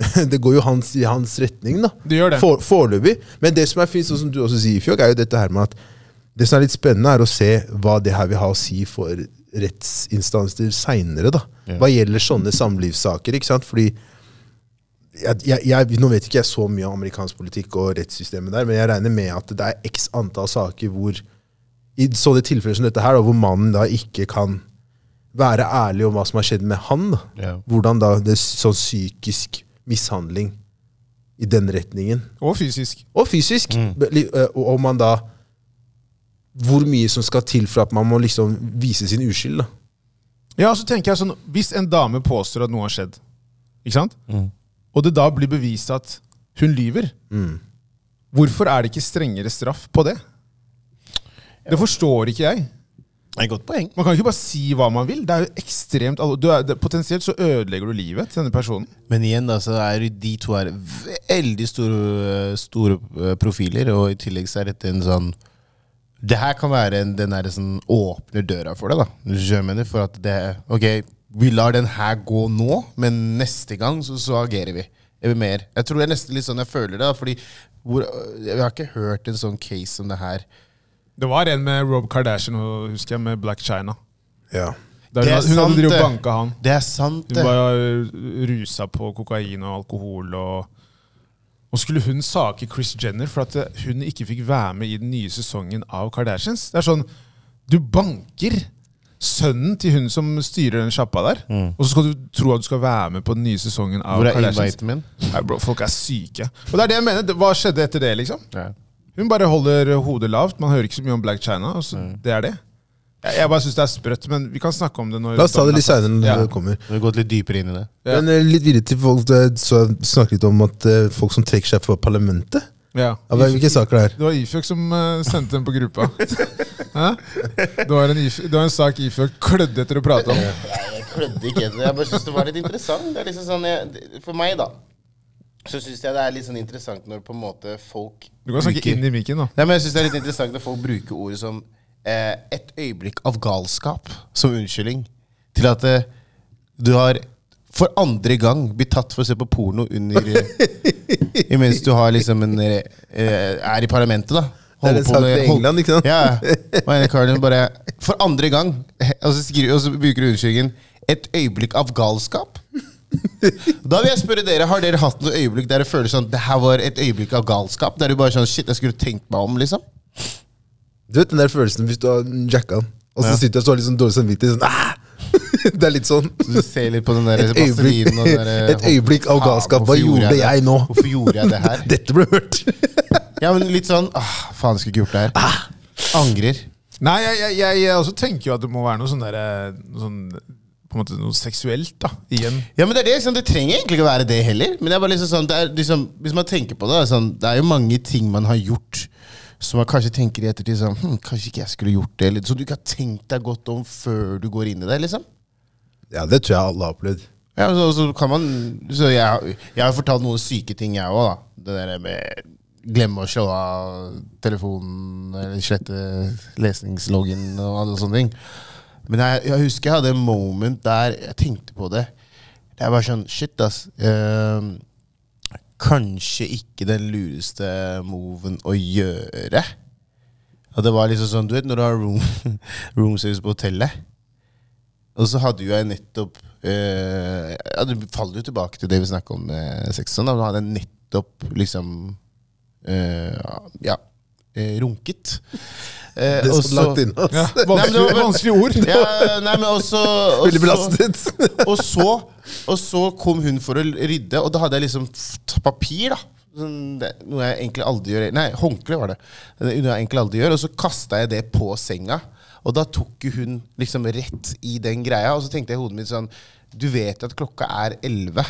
B: Det går jo hans, i hans retning, da.
C: Det gjør det.
B: For- Foreløpig. Men det som er fint, sånn som du også sier, Fjok, er jo dette her med at det som er litt spennende, er å se hva det her vil ha å si for rettsinstanser seinere, da. Hva gjelder sånne samlivssaker, ikke sant. Fordi jeg, jeg, jeg, nå vet ikke jeg så mye om amerikansk politikk og rettssystemet der, men jeg regner med at det er x antall saker hvor i sånne tilfeller som dette her, da, hvor mannen da ikke kan være ærlig om hva som har skjedd med han. Da.
A: Ja.
B: Hvordan da det er sånn psykisk mishandling i den retningen.
C: Og fysisk.
B: Og fysisk. Be- li- eh, Og om man da Hvor mye som skal til for at man må liksom vise sin uskyld. da.
C: Ja, så tenker jeg sånn, Hvis en dame påstår at noe har skjedd, ikke sant? og det da blir bevist at hun lyver, hvorfor er det ikke strengere straff på det? Det forstår ikke jeg.
A: Det er et godt poeng.
C: Man kan ikke bare si hva man vil. Det er jo ekstremt alvor- du er, det, Potensielt så ødelegger du livet til denne personen.
A: Men igjen, da, så er jo de to her veldig store, store eh, profiler, og i tillegg så er dette en sånn Det her kan være en, den her som åpner døra for deg, da. Hvis du skjønner hva jeg mener, For at det Ok, vi lar den her gå nå, men neste gang så, så agerer vi. Eller mer. Jeg tror det er nesten litt sånn jeg føler det, da, fordi hvor, eh, jeg har ikke hørt en sånn case som det her.
C: Det var en med Rob Kardashian og husker jeg, med Black China.
B: Ja.
C: Der
A: Det er
C: hun, hun
A: sant,
C: hadde drevet
A: det.
C: og banka han.
A: Det er sant, eh.
C: Hun
A: det.
C: var rusa på kokain og alkohol. Og, og skulle hun sake Chris Jenner for at eh, hun ikke fikk være med i den nye sesongen av Kardashians? Det er sånn, Du banker sønnen til hun som styrer den sjappa der,
B: Mm.
C: og så skal du tro at du skal være med på den nye sesongen av
A: Hvor er
C: Kardashians.
A: inviten min?
C: Nei, bro, folk er syke. Og det er det jeg mener. det- Hva skjedde etter det? liksom?
A: Ja.
C: Hun bare holder hodet lavt. Man hører ikke så mye om Black China. og så
B: Mm.
C: Det er det. Jeg, jeg bare syns det er sprøtt, men vi kan snakke om det når
B: La oss ta det litt
C: dommen er
B: seinere når
C: Ja.
B: det kommer.
A: Vi har gått litt dypere inn i det.
C: Ja.
B: Men eh, litt videre til folk eh, så jeg snakket litt om at eh, folk som trekker seg fra parlamentet.
C: satt. Ja.
B: Ja, hva- Hvilke saker det er?
C: Det var Ifjøk som eh, sendte den på gruppa. Hæ? Det var en, If- det var en sak Ifjøk klødde etter å prate om.
A: Nei, jeg klødde ikke. etter det. Jeg bare synes det var litt interessant. Det er liksom sånn, jeg, for meg, da, så syns jeg det er litt sånn interessant når på en måte folk
C: Du kan snakke
A: bruker-
C: inn i mikken, da.
A: Nei, men jeg synes det er litt interessant når folk bruker ordet som eh, et øyeblikk av galskap som unnskyldning til at eh, du har for andre gang blitt tatt for å se på porno under eh, Imens du har liksom en eh, eh, er i parlamentet, da.
B: Det er det sagt i England, ikke sant?
A: Ja. Og en Cardinal bare For andre gang. Og så, skriver, og så bruker du unnskyldningen 'et øyeblikk av galskap'. Da vil jeg spørre dere, Har dere hatt noe øyeblikk der det føles sånn det her var et øyeblikk av galskap? Der du bare sånn Shit, jeg skulle tenkt meg om, liksom?
B: Du vet den der følelsen hvis du har jacka den, og så
A: Ja.
B: sitter du og så har litt sånn dårlig samvittighet. Sånn, «Ah!» det er litt sånn.
A: Du ser litt på den der
B: Et øyeblikk,
A: baserinen og den der, eh,
B: et øyeblikk av
A: Faen,
B: galskap.
A: hvorfor
B: Hva gjorde
A: det?
B: jeg nå?
A: Hvorfor gjorde jeg det her?
B: Dette ble hørt.
A: Ja, men Litt sånn ah, Faen, jeg skulle ikke gjort det her.
B: Ah.
A: Angrer.
C: Nei, jeg, jeg, jeg, jeg også tenker jo at det må være noe sånn derre noe sånn, På en måte noe seksuelt, da. Igjen.
A: Ja, men Det er det, sånn, det trenger egentlig ikke å være det heller. Men det er bare liksom sånn, det er, liksom, hvis man tenker på det, det er sånn, det er jo mange ting man har gjort som man kanskje tenker i ettertid sånn hm, Kanskje ikke jeg skulle gjort det. Eller, som du ikke har tenkt deg godt om før du går inn i det. liksom.
B: Ja, det tror jeg alle har opplevd.
A: Ja, så, så kan man, så jeg, jeg har fortalt noen syke ting, jeg òg. Det der med glemme å slå av telefonen, eller slette lesningsloggen og alle sånne ting. Men jeg, jeg husker jeg hadde en moment der jeg tenkte på det. Det er bare sånn Shit, ass. Ehm, kanskje ikke den lureste moven å gjøre. Og det var liksom sånn, du vet når du har room, room service på hotellet. Og så hadde jo jeg nettopp eh, ja, Det faller jo tilbake til det vi snakket om med sexen. Da hadde jeg nettopp liksom eh, Ja, eh, runket. Eh,
B: Det
A: og
B: satt langt inne. ass.
C: Ja,
A: Nei, men det
C: vanskelig,
A: var-
C: vanskelig ord.
A: Ja, nei, men også,
B: Veldig belastet.
A: og så, og så kom hun for å rydde, og da hadde jeg liksom t- papir, da. Sånn, det, noe jeg egentlig aldri gjør. Nei, håndkle var det. Det er Noe jeg egentlig aldri gjør. Og så kasta jeg det på senga. Og da tok jo hun liksom rett i den greia. Og så tenkte jeg i hodet mitt sånn Du vet at klokka er elleve.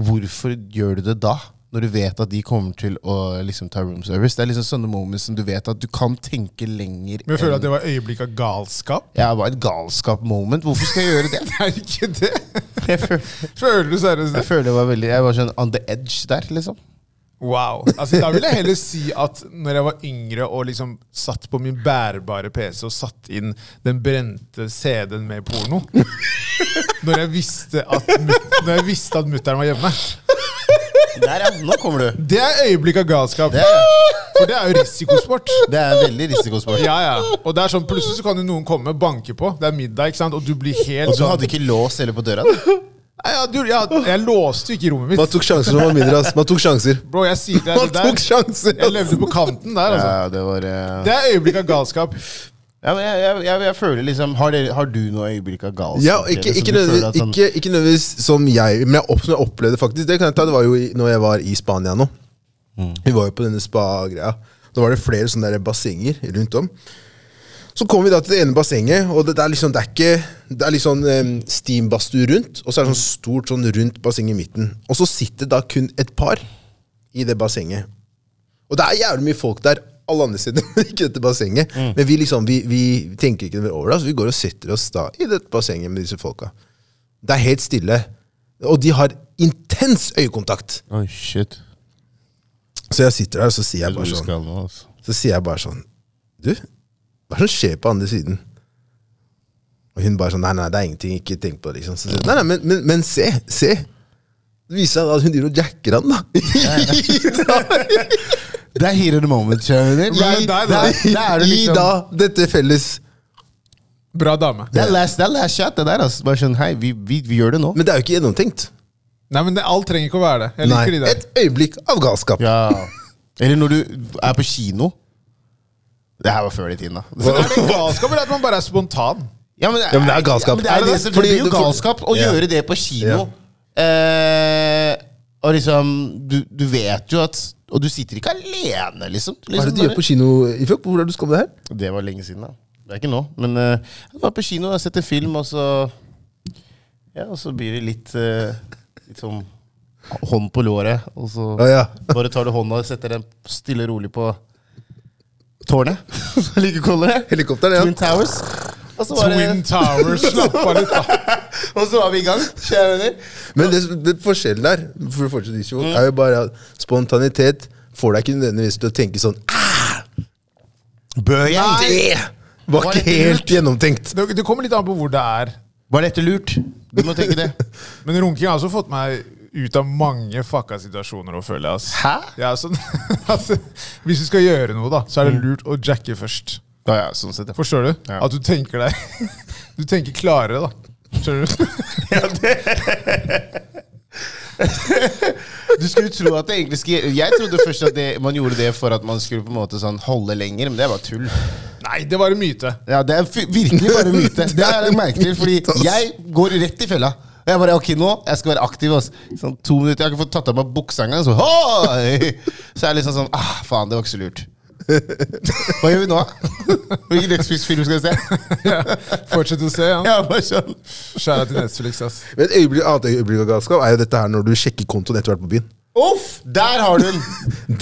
A: Hvorfor gjør du det da? Når du vet at de kommer til å liksom ta room service. Det er liksom sånne moments som du vet at du kan tenke lenger
C: Men jeg føler
A: enn
C: at det var øyeblikk av galskap.
A: Ja, det var et galskap-moment. Hvorfor skal jeg gjøre det?
C: Det er ikke det!
A: Jeg føler
C: Føler du seriøst det?
A: Jeg føler det var veldig Jeg var sånn on the edge der, liksom.
C: Wow. Altså, da vil jeg heller si at når jeg var yngre og liksom satt på min bærbare PC og satt inn den brente CD-en med porno Når jeg visste at, mut- når jeg visste at mutter'n var hjemme.
A: Der, ja. Nå kommer du.
C: Det er øyeblikk av galskap.
A: Det er,
C: For det er jo risikosport.
A: det er en veldig risikosport.
C: Ja, ja. Og det er sånn, plutselig så kan jo noen komme og banke på. Det er middag, ikke sant? Og du blir helt
A: Og du
C: sånn
A: hadde ikke lås heller på døra? du.
C: Nei, ja, du, jeg, jeg låste jo ikke rommet
B: Man
C: mitt.
B: tok sjanser når man var mindre. ass. Man tok sjanser.
C: Bro, jeg sier det,
B: Man
C: det
B: tok
C: der.
B: sjanser!
C: Jeg
B: ass.
C: levde på kanten der, altså.
A: Ja, det var eh,
C: Det er øyeblikk av galskap.
A: ja, men jeg, jeg, jeg, jeg føler liksom Har, dere, har du noe øyeblikk av galskap?
B: Ja,
A: eller,
B: ikke,
A: som
B: ikke,
A: du føler
B: nødvendigvis,
A: at sånn-
B: ikke, ikke nødvendigvis som jeg, men jeg, opp, som jeg opplevde faktisk Det kan jeg ta, det var jo i, når jeg var i Spania nå.
A: Mm.
B: Vi var jo på denne spa-greia. Da var det flere sånne der bassenger rundt om. Så kom vi da til det ene bassenget, og det, det er liksom, det er ikke Det er litt sånn um, steambadstue rundt, og så er det sånn stort sånn rundt basseng i midten. Og så sitter da kun et par i det bassenget. Og det er jævlig mye folk der. Alle andre steder, men ikke dette bassenget.
A: Mm.
B: Men vi liksom, vi, vi tenker ikke mer over det, så vi går og setter oss da i dette bassenget med disse folka. Det er helt stille. Og de har intens øyekontakt.
A: Oi, shit.
B: Så jeg sitter der, og så sier jeg
A: Hvor
B: bare
A: du
B: sånn
A: skal nå, altså.
B: så sier jeg bare sånn Du, hva er det som skjer på andre siden? Og hun bare sånn Nei, nei, det er ingenting. Ikke tenk på det. liksom Så sier hun, Nei, nei, men, men, men se. Se. Det viser seg da at hun driver og jacker han, da.
A: Det er here in the moment, skjønner du.
C: Men der-
A: Det er-
B: I,
A: der er du
B: I
A: liksom
B: da dette felles
C: Bra dame.
A: Det er last, det er last shot, det der. Altså. Bare sånn, hei, vi, vi, vi gjør det nå.
B: Men det er jo ikke gjennomtenkt.
C: Nei, men det, Alt trenger ikke å være det. Jeg
B: Nei.
C: liker de der.
B: Et øyeblikk av galskap.
A: Ja. Eller når du er på kino. Det her var før i tiden, da.
C: Så er det galskap eller at man bare er spontan?
A: Ja, men,
B: Ja, men det er galskap.
A: Ja, men det, er
B: Er det
A: det,
B: det?
A: som-
B: Fordi
A: det blir jo
B: du får-
A: galskap å
B: Ja.
A: gjøre det på kino. Eh, og liksom du, du vet jo at Og du sitter ikke alene, liksom.
B: Hva
A: liksom
B: er det du gjør på kino i fjor? Hvor er det du skal med det her?
A: det var lenge siden, da. Det er ikke nå. Men eh, jeg var på kino og sett en film, og så Ja, og så blir det litt eh, Litt sånn hånd på låret, og så
B: Å, ja.
A: bare tar du hånda og setter den stille og rolig på tårnet. like cool det.
B: Helikopter,
A: Twin
B: ja.
A: Towers. Og så var det-
C: Twin Towers, slapp av litt, da.
A: og så var vi i gang. Kjære
B: Men det, det forskjellen der for å fortsette diskusjonen,
A: Mm.
B: er jo bare at spontanitet får deg ikke nødvendigvis til å tenke sånn
A: Bør jeg?
B: Det var
A: Var
B: ikke
A: dette
B: helt
A: lurt?
B: gjennomtenkt.
C: Det, det kommer litt an på hvor det er.
A: Var dette lurt? Du må tenke det.
C: Men runking har også fått meg ut av mange fucka situasjoner å føle. Ass.
A: Hæ?
C: Ja, sånn, altså, hvis du skal gjøre noe, da, så er det lurt å jacke først.
A: Ja, ja, sånn sett. ja.
C: Forstår du?
A: Ja.
C: At du tenker deg Du tenker klarere, da. Skjønner du?
A: Du skulle tro at det egentlig skulle Jeg trodde først at det, man gjorde det for at man skulle på en måte sånn holde lenger, men det er bare tull.
C: Nei, det var en myte.
A: Ja, Det er fi- virkelig bare myte. Det har jeg lagt merke til, fordi jeg går rett i fella. Og jeg bare, ok, nå jeg skal være aktiv. ass. Sånn to minutter, Jeg har ikke fått tatt av meg buksa engang. Så, «Hoi!» så jeg er liksom sånn ah, Faen, det var ikke så lurt. Hva gjør vi nå? Hvilken Netflix-film skal vi se?
C: Fortsett å se. ja.
A: Ja, bare sånn.
C: Skjæra til Netflix, ass.
B: Men et øyeblikk, annet øyeblikk av galskap er jo dette her når du sjekker kontoen etter å ha vært på byen.
A: Uff, der har du den!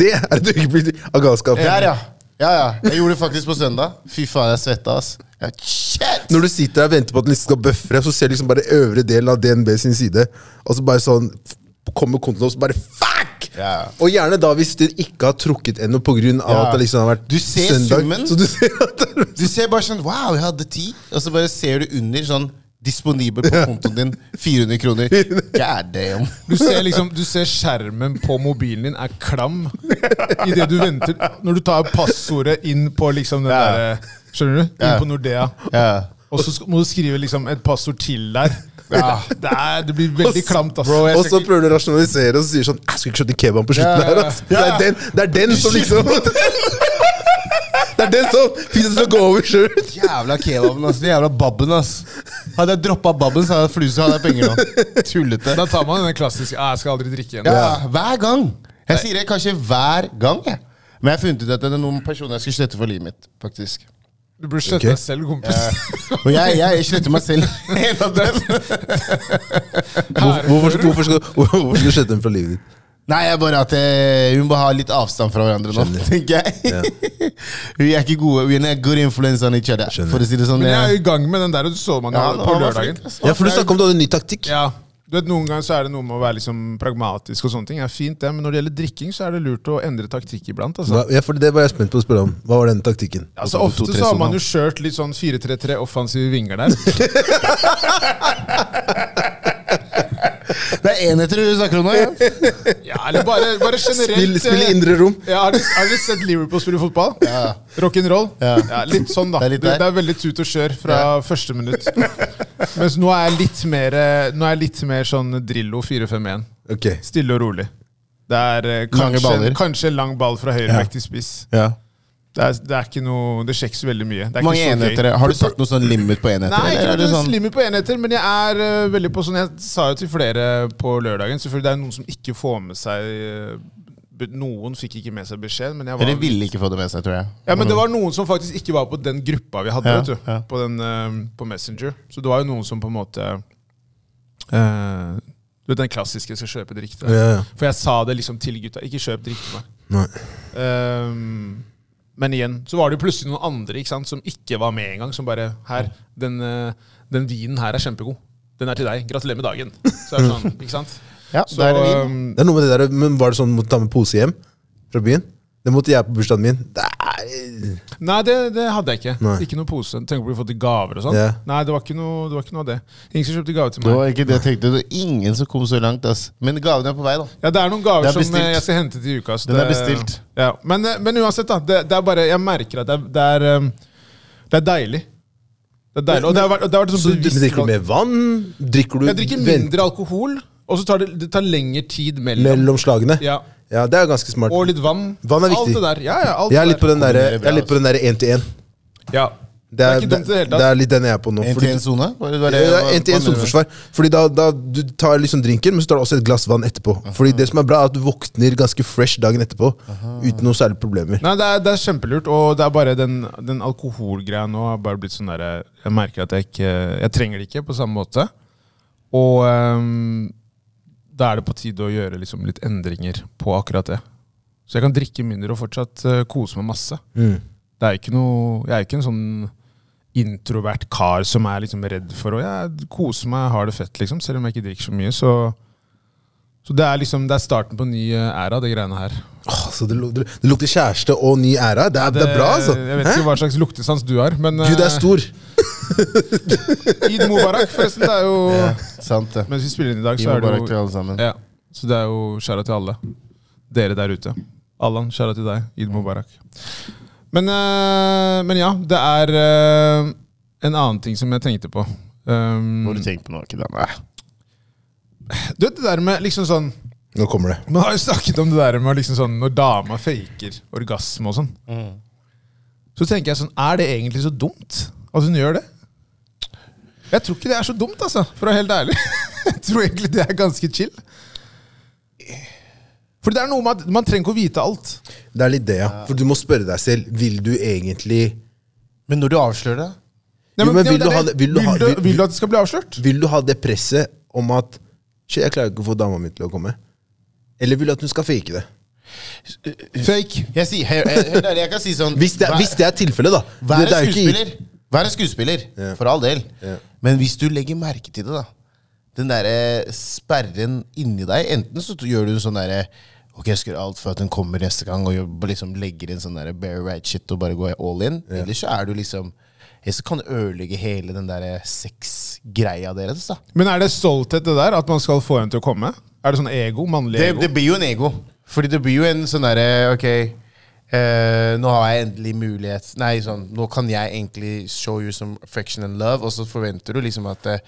B: Det er et øyeblikk av galskap.
A: Der, ja. Ja, ja. Jeg gjorde det faktisk på søndag. Fy faen, jeg svetta, ass. Jeg, shit!
B: Når du sitter der og venter på at den liksom skal buffre, så ser du liksom bare øvre delen av DNB sin side, og så bare sånn f- kommer kontoen opp, så bare fuck!
A: Ja.
B: Og gjerne da hvis den ikke har trukket ennå på grunn av
A: Ja.
B: at det liksom har vært
A: Du ser
B: søndag.
A: summen.
B: Så du ser at det
A: Du ser bare sånn Wow, jeg hadde ti. Og så bare ser du under sånn disponibel på kontoen din 400 kroner. God damn.
C: Du ser, liksom, du ser skjermen på mobilen din er klam i det du venter Når du tar passordet inn på liksom den
A: Ja.
C: der, Skjønner du? Inn
A: Ja.
C: på Nordea.
A: Ja.
C: Og så sk- må du skrive liksom et passord til der. Det, er, det blir veldig klamt. ass.
B: Og så prøver du å rasjonalisere, og så sier du sånn Jeg skulle ikke skjønt kebaben på
C: Ja,
B: slutten
C: ja, ja.
B: her, ass. Det
A: Ja.
B: er den, det er den som liksom Det er den som fikk det til å gå over sjøl.
A: Jævla kebaben, ass. Den Jævla babben, ass. Hadde jeg droppa babben, så hadde jeg fluse, hadde jeg penger nå. Tullete.
C: Da tar man den klassiske «Ah, 'jeg skal aldri drikke igjen'.
A: Ja, hver gang. Jeg sier det kanskje hver gang, jeg. Men jeg har funnet ut at det er noen personer jeg skal slette for livet mitt, faktisk.
C: Du burde slette
B: Ok.
C: deg selv, kompis.
A: Og jeg, jeg sletter meg selv. En av dem.
B: Hvor- Hvorfor, hvorfor, skal, hvorfor skal du slette den fra livet ditt?
A: Nei, jeg bare at eh, hun må ha litt avstand fra hverandre nå, tenker jeg. vi er ikke gode. We are not good influence on each other.
B: Skjønner.
A: For å si det sånn.
C: Men jeg
A: eh,
C: er i gang med den der, og du så man
A: ja, nå
C: på
A: var man
C: lørdagen.
A: flink, ass.
B: Ja, for du snakka om du hadde en ny taktikk.
C: Ja, du vet Noen ganger så er det noe med å være liksom pragmatisk, og sånne ting. Det er fint det, men når det gjelder drikking, så er det lurt å endre taktikk iblant. altså.
B: Hva- Ja, for Det var jeg spent på å spørre om. Hva var den taktikken?
C: Altså, ofte så har man jo kjørt litt sånn 4-3-3 offensive vinger der.
A: Det er enheter du snakker om nå? Ja.
C: Ja, eller bare, bare generelt.
B: Spill, spill i
C: eh,
B: indre rom.
C: Ja, har, du- har dere sett Liverpool spille fotball?
A: Ja.
C: Rock'n'roll?
A: Ja.
C: litt sånn, da.
A: Det er
C: Det
A: litt
C: det er,
A: der.
C: veldig tut og kjør fra første minutt. Mens nå er jeg litt mer, eh, nå er jeg litt mer sånn Drillo 4-5-1.
B: Ok
C: Stille og rolig. Det er eh,
A: Lange
C: kanskje,
A: baller.
C: kanskje en lang ball fra høyre
B: Ja.
C: vekk til spiss.
B: ja.
C: Det er, det er ikke noe Det skjer ikke så veldig mye. Det
A: Hvor
C: er
A: mange
C: ikke så gøy.
A: enheter er- Har du satt noe sånn limit på enheter?
C: Nei, ikke
A: eller er
C: noe
A: det sånn
C: slimmer på enheter, men jeg er eh, veldig på sånn Jeg sa jo til flere på lørdagen Selvfølgelig det er noen som ikke får med seg eh, be- Noen fikk ikke med seg beskjed, men jeg var
A: Eller ville ikke få det med seg, tror jeg.
C: ja, men det var noen som faktisk ikke var på den gruppa vi hadde
A: Ja,
C: vet du,
A: ja.
C: på, den, eh, på Messenger. Så det var jo noen som på en måte eh, Du vet den klassiske 'skal kjøpe det riktige'.
B: Ja, ja.
C: For jeg sa det liksom til gutta. Ikke kjøp det riktige.
B: Nei.
C: Ehm, men igjen, så var det jo plutselig noen andre ikke sant, som ikke var med engang. Som bare her, den, eh, den vinen her er kjempegod. Den er til deg. Gratulerer med dagen. Så er det sånn, ikke sant?
A: Ja,
C: Så,
A: da er det vin.
C: ehm,
B: Det er noe med det der, men Var det sånn måtte ta med pose hjem fra byen? Det måtte jeg på bursdagen min. Det er-
C: nei, det, det hadde jeg ikke.
B: Nei.
C: Ikke noe pose. Tenk på å få til gaver og sånn.
B: Ja.
C: Nei, det var, ikke noe, det var ikke noe av det. Ingen som kjøpte gave til
A: Det
C: meg.
A: var ikke det jeg tenkte. Det var ingen som kom så langt, ass. Men gaven er på vei, da.
C: Ja, Det er noen
A: Det
C: gaver
A: er
C: som
A: bestilt.
C: eh, jeg skal hente til uka. så
A: Den er
C: det-
A: bestilt.
C: Ja. Men, eh, men uansett, da. Det, det er bare, jeg merker at det er, det er, eh, det er deilig. Det er deilig. Og det har vært, og det har vært
B: Så
C: sånn
B: du-
C: bevisst
B: drikker du
C: valg.
B: mer vann? Drikker du
C: Jeg drikker mindre alkohol, og så tar det, det tar lengre tid
B: vent-
C: mellom.
B: mellom slagene?
C: Ja.
B: Ja, det er ganske smart.
C: Og litt vann.
B: Vann er viktig.
C: Alt det der. Ja, ja, alt
B: Jeg er
C: det
B: litt på
C: der.
B: den derre-
A: Kombinere bra,
B: jeg er litt på den derre én-til-én.
C: Ja.
B: Det er,
C: ikke dumt i det hele
B: det
C: tatt.
B: er litt den jeg er på nå.
A: En til
B: fordi-
A: en sone? Var det- var det-
B: Ja,
A: hva-
B: en til en
A: hva mener du?
B: soneforsvar. Fordi da, da Du tar liksom drinken, men så tar du også et glass vann etterpå. Fordi det som er bra, er at du våkner ganske fresh dagen etterpå uten noen særlige problemer.
C: Nei, det er, det er kjempelurt, og det er bare den, den alkoholgreia nå har bare blitt sånn derre Jeg merker at jeg ikke Jeg trenger det ikke på samme måte. Og ehm, da er det på tide å gjøre liksom litt endringer på akkurat det. Så jeg kan drikke mindre og fortsatt eh, kose meg masse.
B: Mm.
C: Det er ikke noe Jeg er ikke en sånn introvert kar som er liksom redd for å Jeg koser meg, har det fett, liksom, selv om jeg ikke drikker så mye. Så, så det er liksom Det er starten på en ny eh, æra, det greiene her.
B: Åh, så det, lu- det lukter kjæreste og ny æra. Det er, det, er bra, altså.
C: Jeg vet ikke hva slags luktesans du har, men
B: Gud er stor.
C: eh, Eid Mubarak, forresten. Det er jo
A: Ja, sant det.
C: Mens vi spiller inn i dag,
A: Vi
C: så
A: må
C: er det
A: bare til
C: jo
A: alle sammen.
C: ja, Så det er jo skjæra til alle. Dere der ute. Allan, skjæra til deg. Eid Mubarak. Men, eh, men ja, det er eh, en annen ting som jeg tenkte på. Eh, Um,
A: Nå har du tenkt på noe, ikke det? Nei.
C: du vet det der med liksom sånn
B: Nå kommer det.
C: Man har jo snakket om det der med liksom sånn når dama faker orgasme og sånn.
B: Mm.
C: Så tenker jeg sånn, er det egentlig så dumt at hun gjør det? Jeg tror ikke det er så dumt, altså, for å være helt ærlig. Jeg tror egentlig det er ganske chill. For det er noe med at man trenger ikke å vite alt.
B: Det er litt det, ja. For du må spørre deg selv. Vil du egentlig
A: Men når du avslører det
C: Nei,
B: Jo, men
C: det er
B: vil
C: jo
B: du ha
C: det-
B: det- vil du ha-
C: vil, du,
B: vil-
C: vil du at det skal bli avslørt?
B: Vil du ha det presset om at Shit, jeg klarer ikke å få dama mi til å komme. Eller vil du at hun skal fake det?
C: Fake.
A: Jeg, sier, jeg, jeg, helt ærlig, jeg kan si sånn
B: Hvis det er,
A: hva-
B: hvis det er tilfellet, da.
A: Vær
B: Det- det er
A: en
B: jo ikke-
A: skuespiller. Vær en skuespiller,
B: Ja.
A: for all del.
B: Ja.
A: Men hvis du legger merke til det, da. Den derre sperren inni deg. Enten så gjør du en sånn derre Ok, jeg skal gjøre alt for at den kommer neste gang, og gjør- liksom legger inn sånn derre bare right shit og bare går all in. Eller så er du liksom Eller så kan du ødelegge hele den derre sexgreia deres, da.
C: Men er det stolthet, det der? At man skal få henne til å komme? Er det sånn ego? Mannlig
A: Det,
C: ego?
A: det blir jo en ego. Fordi det blir jo en sånn derre Ok, eh, nå har jeg endelig mulighet Nei, sånn, nå kan jeg egentlig show you some affection and love, og så forventer du liksom at eh,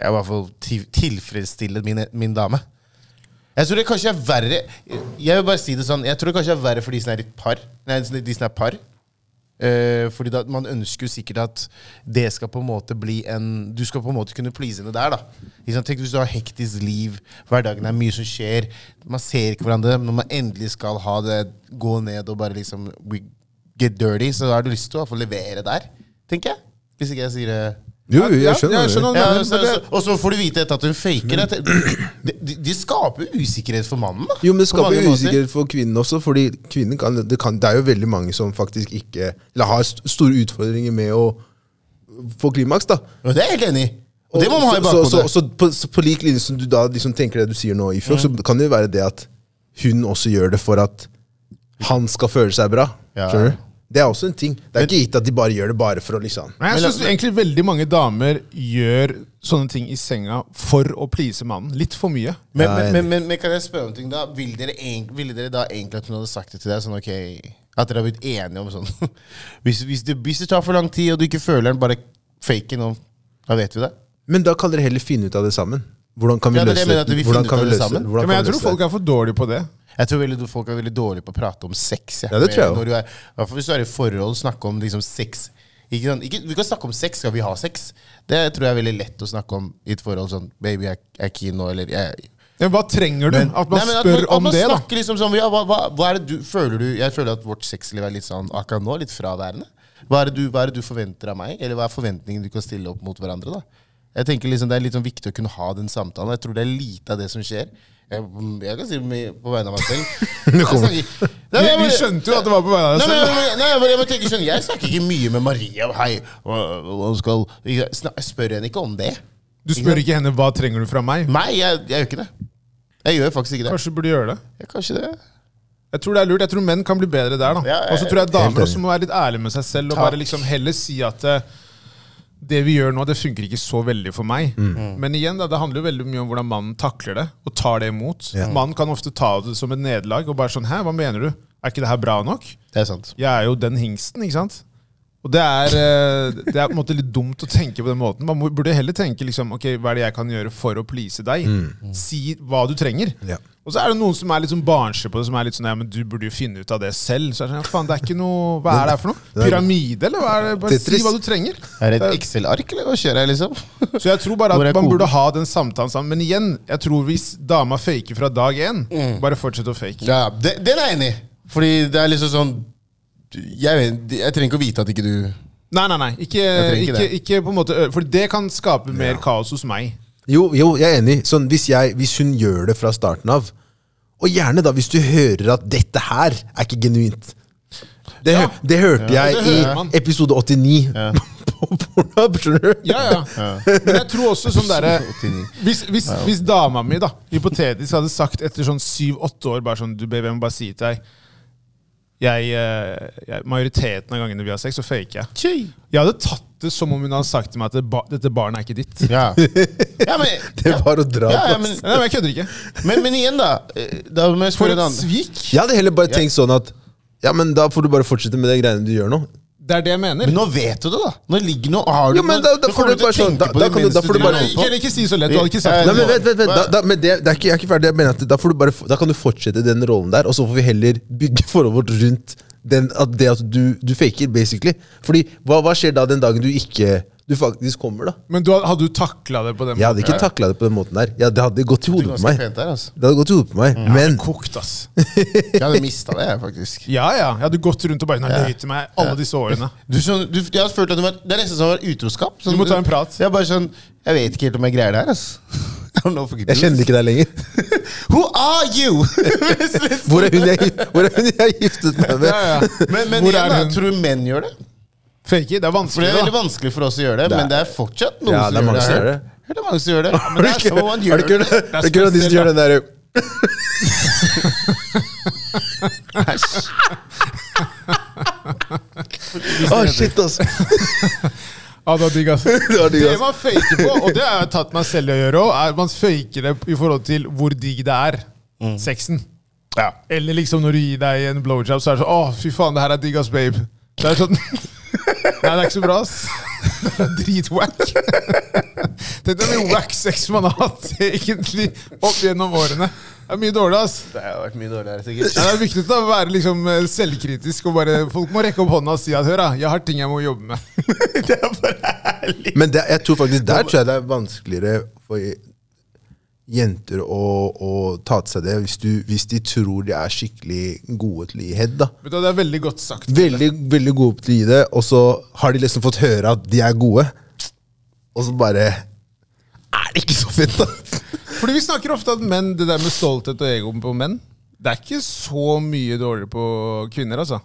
A: jeg i hvert fall til- tilfredsstiller min, min dame. Jeg tror det kanskje er verre Jeg vil bare si det sånn Jeg tror det kanskje er verre for de som er et par. Nei, de som er par. Eh, fordi da, Man ønsker jo sikkert at det skal på en måte bli en du skal på en måte kunne please henne der. da Ikke sant? Tenk Hvis du har hektisk liv, hverdagen er mye som skjer, man ser ikke hverandre Når man endelig skal ha det, gå ned og bare liksom we get dirty, så har du lyst til å i hvert fall levere der. Tenker jeg. Hvis ikke jeg sier det.
B: Jo, jo,
C: Ja,
B: jeg skjønner.
C: jeg
B: det.
C: skjønner.
A: Ja,
C: men-
A: så,
C: men det-
A: så, og så får du vite etter at hun faker det. De, de, de skaper jo usikkerhet for mannen. da
B: Jo, men det
A: På mange
B: skaper jo
A: måter.
B: usikkerhet for kvinnen også, fordi kvinnen kan, det, kan, det er jo veldig mange som faktisk ikke Eller har st- store utfordringer med å få klimaks, da.
A: Og det er jeg helt enig i. Og det må man ha i
B: så, så, så,
A: bakhodet.
B: så, på, så på lik linje som du da liksom tenker det du sier nå, Ifjok, så kan det jo være det at hun også gjør det for at han skal føle seg bra.
A: Ja.
B: Skjønner du? Det er også en ting. Det er ikke gitt at de bare gjør det bare for å liksom
C: Men jeg
A: Men la-
C: synes egentlig veldig mange damer gjør sånne ting i senga for å please mannen. Litt for mye.
A: Men,
B: Ja, jeg er
A: men, men, men, men kan jeg spørre om en ting da? Vil dere egent- Ville dere da egentlig at hun hadde sagt det til deg? Sånn, ok, At dere har blitt enige om sånn hvis, hvis, det, hvis det tar for lang tid, og du ikke føler den, bare fake den, og da vet vi det.
B: Men da kan dere heller finne ut av det sammen. Hvordan kan vi
A: Ja, det er det
B: løse
A: jeg mener, at
B: det?
A: vi finner
B: Hvordan
A: ut
B: kan
A: av
B: vi
A: det
B: løse
A: sammen.
B: det?
C: Ja,
B: Hvordan
C: men
B: kan
C: jeg
B: vi
C: tror
B: løse det?
C: folk er for dårlige på det.
A: Jeg tror veldig, folk er veldig dårlige på å prate om sex. jeg.
B: Ja, det tror jeg
A: Når du er- I hvert fall hvis du er i forhold, snakke om liksom sex. Ikke, sånn- ikke, vi kan snakke om sex, skal vi ha sex? Det tror jeg er veldig lett å snakke om i et forhold. Sånn, baby, jeg jeg er keen nå, eller jeg,
C: Men hva trenger du? at man
A: Nei, men
C: spør
A: at man,
C: om
A: at man
C: det, da.
A: snakker liksom sånn, ja, hva, hva, hva er det du, føler du, Jeg føler at vårt sexliv er litt sånn akkurat nå, litt fraværende. Hva er, det du, hva er det du forventer av meg, eller hva er forventningen du kan stille opp mot hverandre? da? Jeg tenker liksom Det er litt sånn viktig å kunne ha den samtalen. Jeg tror det er lite av det som skjer. Jeg, jeg kan si det mye på vegne av meg selv. Jeg
B: kommer.
A: snakker- Nei,
C: Vi,
A: men jeg
C: vi
A: bare-
C: skjønte jo at det var på vei av
A: Nei,
C: deg
A: men,
C: selv.
A: nei, men, nei, men jeg må tenke sånn Jeg snakker ikke mye med Maria. Hei, hva- hva skal Jeg snak- jeg spør henne ikke om det.
C: Du spør ikke henne hva trenger du fra meg.
A: Meg, jeg, jeg gjør ikke det. Jeg gjør faktisk ikke det.
C: Kanskje du burde gjøre det.
A: Jeg, kanskje det.
C: Jeg tror det er lurt. Jeg tror menn kan bli bedre der. da.
A: Ja, jeg-
C: Og så tror jeg
B: Helt
C: damer
B: enig.
C: også må være litt ærlige med seg selv og
A: Takk.
C: bare liksom heller si at eh, det vi gjør nå, det funker ikke så veldig for meg.
B: Mm.
A: Mm.
C: Men igjen, da, det handler jo veldig mye om hvordan mannen takler det og tar det imot. Mannen kan ofte ta det som et nederlag og bare sånn Hæ, hva mener du? Er ikke det her bra nok?
A: Det er sant.
C: Jeg er jo den hingsten, ikke sant? Og det er, eh, det er på en måte litt dumt å tenke på den måten. Man må- burde heller tenke liksom, ok, hva er det jeg kan gjøre for å please deg? Si hva du trenger.
B: Ja.
C: Og så er det noen som er litt sånn barnslige på det, som er litt sånn, ja, men du burde jo finne ut av det selv. Så er det sånn, ja, faen, det er ikke noe, hva er det her for noe? Pyramide, eller hva er det? Bare si
B: Tetris.
C: hva du trenger.
A: Er det et Excel-ark, eller hva kjører jeg, liksom?
C: Så jeg tror bare
A: Hvor er
C: at man
A: koden?
C: burde ha den samtalen sammen. Men igjen, jeg tror hvis dama faker fra dag
A: Mm.
C: én, bare fortsett å fake.
A: Ja, det, Den er jeg enig i. Fordi det er liksom sånn jeg, vet, jeg trenger ikke å vite at ikke du
C: Nei, nei, nei. Ikke,
A: trenger ikke
C: ikke,
A: det.
C: ikke på en måte, ø- for det kan skape mer kaos hos meg.
B: Jo, jo, jeg er enig. Sånn, hvis, jeg, hvis hun gjør det fra starten av, og gjerne da hvis du hører at dette her er ikke genuint. Det, hø- det hørte jeg
C: det hører man.
B: i episode 89 på Pornhub, skjønner du?
C: Ja, ja. Men jeg tror også sånn derre hvis, hvis, hvis dama mi, da, hypotetisk, hadde sagt etter sånn syv-åtte år bare sånn Du, baby, jeg må bare si til deg jeg, eh, jeg, Majoriteten av gangene vi har sex, så faker jeg. Jeg hadde tatt det som om hun hadde sagt til meg at det ba, dette barnet er ikke ditt.
A: Ja. ja, men,
B: Det var å dra
A: ja, ja,
B: på.
A: men,
C: Nei, men jeg kødder ikke.
A: men, men igjen, da. eh, Da må jeg
C: For
A: spørre en
C: et
A: annen.
C: svik!
B: Jeg hadde heller bare tenkt sånn at ja, men da får du bare fortsette med de greiene du gjør nå.
C: Det er det jeg mener.
A: Men nå vet du det, da! Nå ligger nå, har du
B: Jo, men da- da får du bare sånn- da- da kan du- da får du
C: Nei,
B: bare- sånn-
C: nei, ikke, ikke si så lett. Du hadde ikke sagt
B: Nei, men
C: det.
B: vent, vent, vent. Da, da, men det, det er ikke, jeg er ikke ferdig. Jeg mener at da, får du bare, da kan du fortsette den rollen der, og så får vi heller bygge forholdet vårt rundt den, at det at du, du faker, basically. Fordi hva, hva skjer da den dagen du ikke Du faktisk kommer, da?
C: Men du, hadde du takla det på den
B: Jeg hadde ikke takla det på den måten der. Ja, det hadde gått i hodet på meg.
A: Pent der, altså.
B: Det hadde gått i hodet på meg. Men
C: Kokt, ass.
A: Jeg hadde mista det, jeg, faktisk.
C: Ja, ja. Jeg hadde gått rundt og bare Hun har løyet til meg alle disse årene.
A: Du skjønner, du, jeg har følt at du var, Det er nesten som å være utroskap. Sånn,
C: Du må ta en prat.
A: Jeg er bare sånn Jeg vet ikke helt om jeg greier det her, altså. I don't know if I can do
B: jeg kjenner
A: this.
B: ikke deg lenger.
A: Who are you? Hvis-
B: Hvor er hun jeg, hvor er hun jeg giftet meg med?
C: Ja, ja.
A: men men
C: Hvor
A: igjen,
C: er
A: da,
C: hun?
A: tror du menn gjør det?
C: Fake it. Det
A: For
C: er
A: Det
C: vanskelig,
A: er veldig
C: da.
A: vanskelig for oss å gjøre det,
B: Det er-
A: men det er fortsatt noen
B: Ja,
A: som
B: det er
A: gjør
B: mange
A: det.
B: som
A: her.
B: gjør det.
A: Det er mange som gjør det. Men
B: Er
A: det
B: det
A: er
B: ikke-
A: someone
B: er
A: gjør
B: det ikke-
A: det.
B: er det ikke at de som gjør den der Æsj. Å, shit, ass.
C: Ja, det var digg, altså. ass.
B: Det var digg,
C: Det
B: ass.
C: man faker på, og det har jeg tatt meg selv i å gjøre òg, er at man faker det i forhold til hvor digg det er. Sexen. Eller liksom når du gir deg en blowjob, så er det sånn Å, fy faen, det her er digg, ass, babe. Det er sånn Nei, det er ikke så bra, ass. Det er Dritwack. Tenk hvor mye wack sex man har hatt egentlig opp gjennom årene. Det er mye dårlig, ass.
A: Det har vært mye dårligere,
C: Ja,
A: sikkert.
C: det er viktig da, å være liksom eh, selvkritisk. og bare, Folk må rekke opp hånda og si at hør, da, jeg har ting jeg må jobbe med.
A: Det er bare ærlig.
B: Men det, jeg tror faktisk der tror jeg det er vanskeligere for jenter å, å ta til seg det, hvis, du, hvis de tror de er skikkelig gode til å gi head. da.
C: Vet du, hva, det er veldig godt sagt.
B: Veldig, veldig gode til å gi det, og så har de liksom fått høre at de er gode, og så bare Er det ikke så fett, da?
C: Fordi vi snakker ofte at menn, det der med stolthet og ego på menn, det er ikke så mye dårligere på kvinner, altså.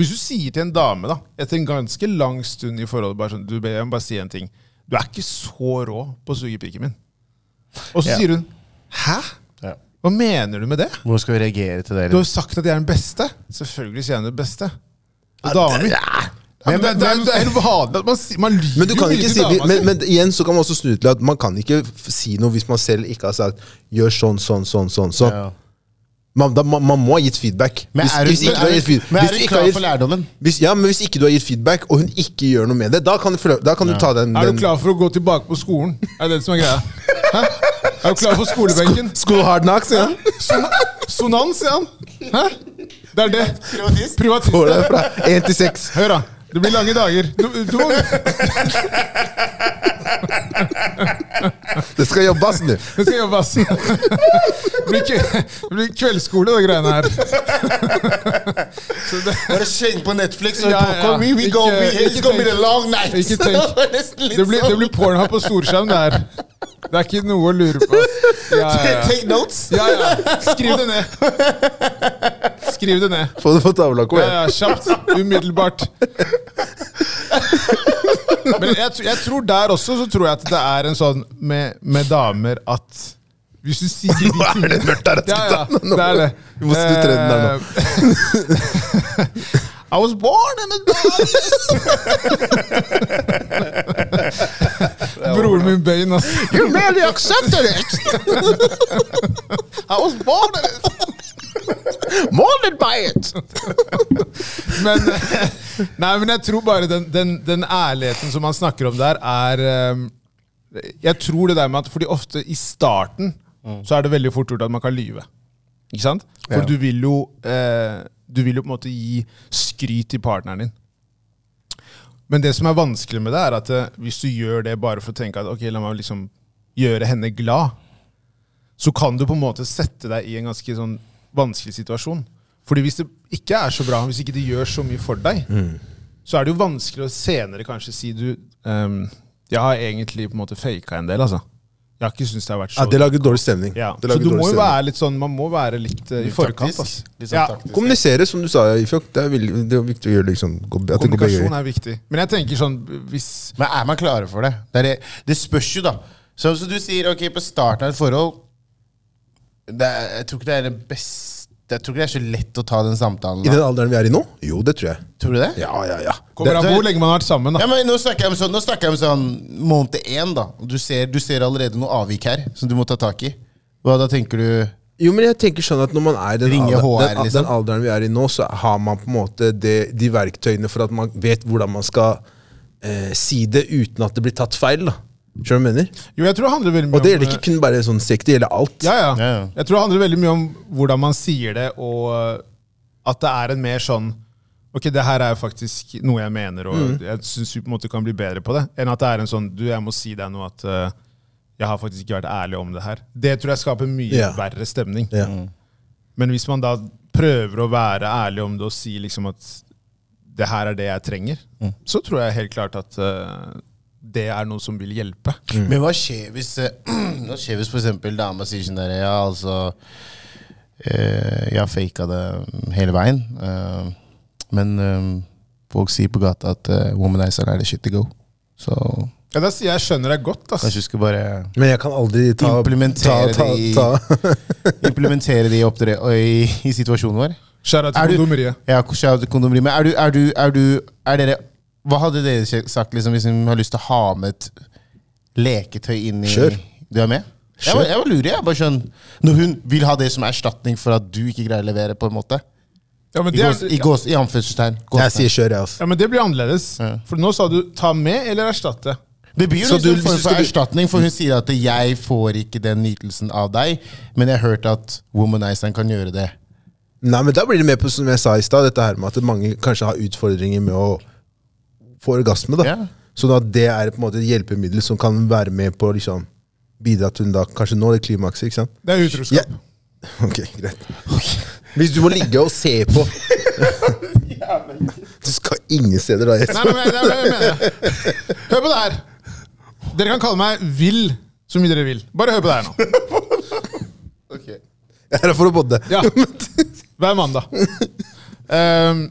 C: Hvis du sier til en dame, da, etter en ganske lang stund i forholdet bare sånn, du, jeg må bare si en ting. Du er ikke så rå på å suge pikken min. Og så
A: Ja.
C: sier hun Hæ?
A: Ja.
C: Hva mener du med det?
A: Hvordan skal vi reagere til det?
C: Du har jo sagt at jeg er den beste. Selvfølgelig sier jeg den beste. Og damer Ja, men det, det, er- det er helt vanlig at man, sier- man lyver
B: Men du kan
C: jo mye
B: ikke
C: til
B: si,
C: dama si.
B: men, men igjen så kan man også snu til at man kan ikke f- si noe hvis man selv ikke har sagt 'gjør sånn, sånn, sånn'. sånn, sånn.
A: Ja.
B: Man, da, man, man må ha gitt feedback.
A: Men
B: Hvis-
A: er du,
B: hvis
A: men
B: ikke du har
A: er
B: gitt
A: du,
B: feed-
A: men
B: hvis
A: er
B: du
A: du
B: ikke har
A: klar
B: gitt-
A: for lærdommen?
B: Hvis, ja, men hvis ikke du har gitt feedback, og hun ikke gjør noe med det, da kan du, forlø- da kan du ta den,
C: Er
B: den
C: du klar for å gå tilbake på skolen? Er det det som er greia? Hæ? Er du klar for skolebenken?
B: School hard knocks, ja.
C: Son sonans, sier han. Hæ? Det er det.
A: Privatist.
C: Privatist.
B: Får deg fra én til seks.
C: Hør, da. Det blir lange dager. Du, du må, jeg
B: Det skal jobbes nå.
C: skal jobbe, ass. Det blir, kve- det blir kveldsskole, de greiene her. Så det,
A: Bare skjeng på Netflix og
C: Ja, ja.
A: popcorn. We, we
C: Ikke-
A: go, we, it's
C: ikke
A: gonna be
C: tenk-
A: a long night.
C: ikke tenk.
A: Det var nesten litt
C: det blir, det
A: sånn.
C: blir pornhub på storskjerm, det her. Det er ikke noe å lure på. ass. Ja, ja, ja.
A: Take notes.
C: ja, ja. Skriv det ned. Skriv det ned.
B: Få det på tavla. Kom
C: Ja,
B: igjen.
C: ja, kjapt. Umiddelbart. Men jeg, tr- jeg tror der også så tror jeg at det er en sånn med, med damer at hvis du sier de
B: Nå er det
C: tingene-
B: mørkt der, ass,
C: Ja, ja,
B: gutta. Nå-
C: det er det.
B: Vi må snu trenden her nå.
C: Eh, I was born in a darkness. Broren min Bane, altså. ass.
B: You merely accepted it!
C: I was born in a
B: Molded by it!
C: Men, eh, nei, men jeg tror bare den, den, den ærligheten som man snakker om der, er um, Jeg tror det der med at Fordi ofte i starten så er det veldig fort gjort at man kan lyve. Ikke sant? For
B: Ja.
C: du vil jo eh, Du vil jo på en måte gi skryt til partneren din. Men det som er vanskelig med det, er at eh, hvis du gjør det bare for å tenke at ok, la meg liksom gjøre henne glad, så kan du på en måte sette deg i en ganske sånn vanskelig situasjon. Fordi hvis det ikke er så bra, hvis ikke det gjør så mye for deg,
B: Mm.
C: så er det jo vanskelig å senere kanskje si du ehm, Jeg har egentlig på en måte faka en del, altså. Jeg har ikke syntes det har vært så
B: Ja, det lager dårlig stemning.
C: ja.
B: Det
C: Så
B: lager
C: du
B: dårlig
C: må jo
B: stemning.
C: være litt sånn Man må være litt eh, i forkant.
A: taktisk.
C: ass.
A: Litt sånn
C: Ja,
A: taktisk.
B: Kommunisere, som du sa, Ifjok. Det, er veldig- det er viktig å gjøre liksom, gå- at det går begge
C: kommunikasjon
B: veier.
C: er viktig. Men jeg tenker sånn hvis
A: Men er man klare for det? Det, er det, det spørs jo, da. Så, så du sier ok, på starten av et forhold det er, Jeg tror ikke det er det beste Jeg tror ikke det er så lett å ta den samtalen.
B: I
A: Da.
B: den alderen vi er i nå? Jo, det tror jeg.
A: Tror du det?
B: Ja, ja, ja.
C: Kommer
B: Det-
C: an på hvor lenge man har vært sammen. da
A: Ja, men nå snakker jeg om sånn, nå snakker jeg om sånn måned én, da. Og Du ser, du ser allerede noe avvik her som du må ta tak i. Hva da tenker du
B: Jo, men jeg tenker sånn at når man er i den,
A: Ringe
B: alder,
A: HR,
B: den,
A: liksom.
B: den alderen vi er i nå, så har man på en måte det, de verktøyene for at man vet hvordan man skal eh, si det uten at det blir tatt feil. da. Skjønner du hva jeg mener?
C: Jo, jeg tror det handler veldig mye eh,
B: Og det gjelder ikke kun bare sånn sekk, det gjelder alt.
C: ja, ja.
A: Ja, ja.
C: Jeg tror det handler veldig mye om hvordan man sier det, og øh, at det er en mer sånn Ok, det her er jo faktisk noe jeg mener, og
B: Mm.
C: jeg syns vi på en måte kan bli bedre på det. Enn at det er en sånn Du, jeg må si deg nå at øh, jeg har faktisk ikke vært ærlig om det her. Det tror jeg skaper mye
B: Ja.
C: verre stemning.
B: Ja.
C: Men hvis man da prøver å være ærlig om det og si liksom at det her er det jeg trenger,
A: Mm.
C: så tror jeg helt klart at øh, det er noe som vil hjelpe.
A: Men hva skjer hvis eh, Hva skjer hvis for eksempel dama sier sånn der Ja, altså eh, Jeg har faka det hele veien. eh, men eh, folk sier på gata at eh, womanizer er the shit to go. Så
C: Ja, Da sier jeg 'skjønner deg godt', ass.
A: kanskje du skal bare
B: Men jeg kan aldri ta
A: Implementere
B: ta,
A: det i-
B: ta, ta.
A: implementere det i, oppdre- og i, i situasjonen vår.
C: Skjæra
A: Er
C: til
A: du-
C: kondomeriet.
A: Ja, kanskje jeg hadde kondomeri, men er du, er du, er du er dere, Hva hadde dere sagt liksom, hvis dere har lyst til å ha med et leketøy inn i
B: Kjør.
A: Du er med? Jeg
B: Kjør.
A: var, jeg var lurer, jeg. Bare skjønn. Når hun vil ha det som erstatning for at du ikke greier å levere, på en måte.
C: Ja, men
A: I, gås, i, gås, i anførselstegn.
B: Jeg sier kjør, jeg, altså.
C: Ja, men det blir annerledes. For nå sa du ta med eller erstatte.
A: Det blir jo
B: Så
A: liksom
B: du-
A: en form
B: hvis du
A: for
B: skulle-
A: erstatning, for hun sier at 'jeg får ikke den nytelsen av deg', men jeg har hørt at womanizeren kan gjøre det.
B: Nei, men da blir det mer på som jeg sa i stad, dette her med at mange kanskje har utfordringer med å få orgasme. da.
A: Ja.
B: Sånn at det er på en måte et hjelpemiddel som kan være med på å liksom, bidra til hun da kanskje når det klimakset. ikke sant?
C: Det er utroskap.
B: Ja. Ok, greit. Hvis du må ligge og se på Du skal ingen steder da,
C: Nei,
B: Jesper.
C: nei, men, det er hva jeg mener. Hør på det her. Dere kan kalle meg vill så mye dere vil. Bare hør på det her nå.
B: Jeg er her for å bodde.
C: Ja. Hver mandag. Ehm,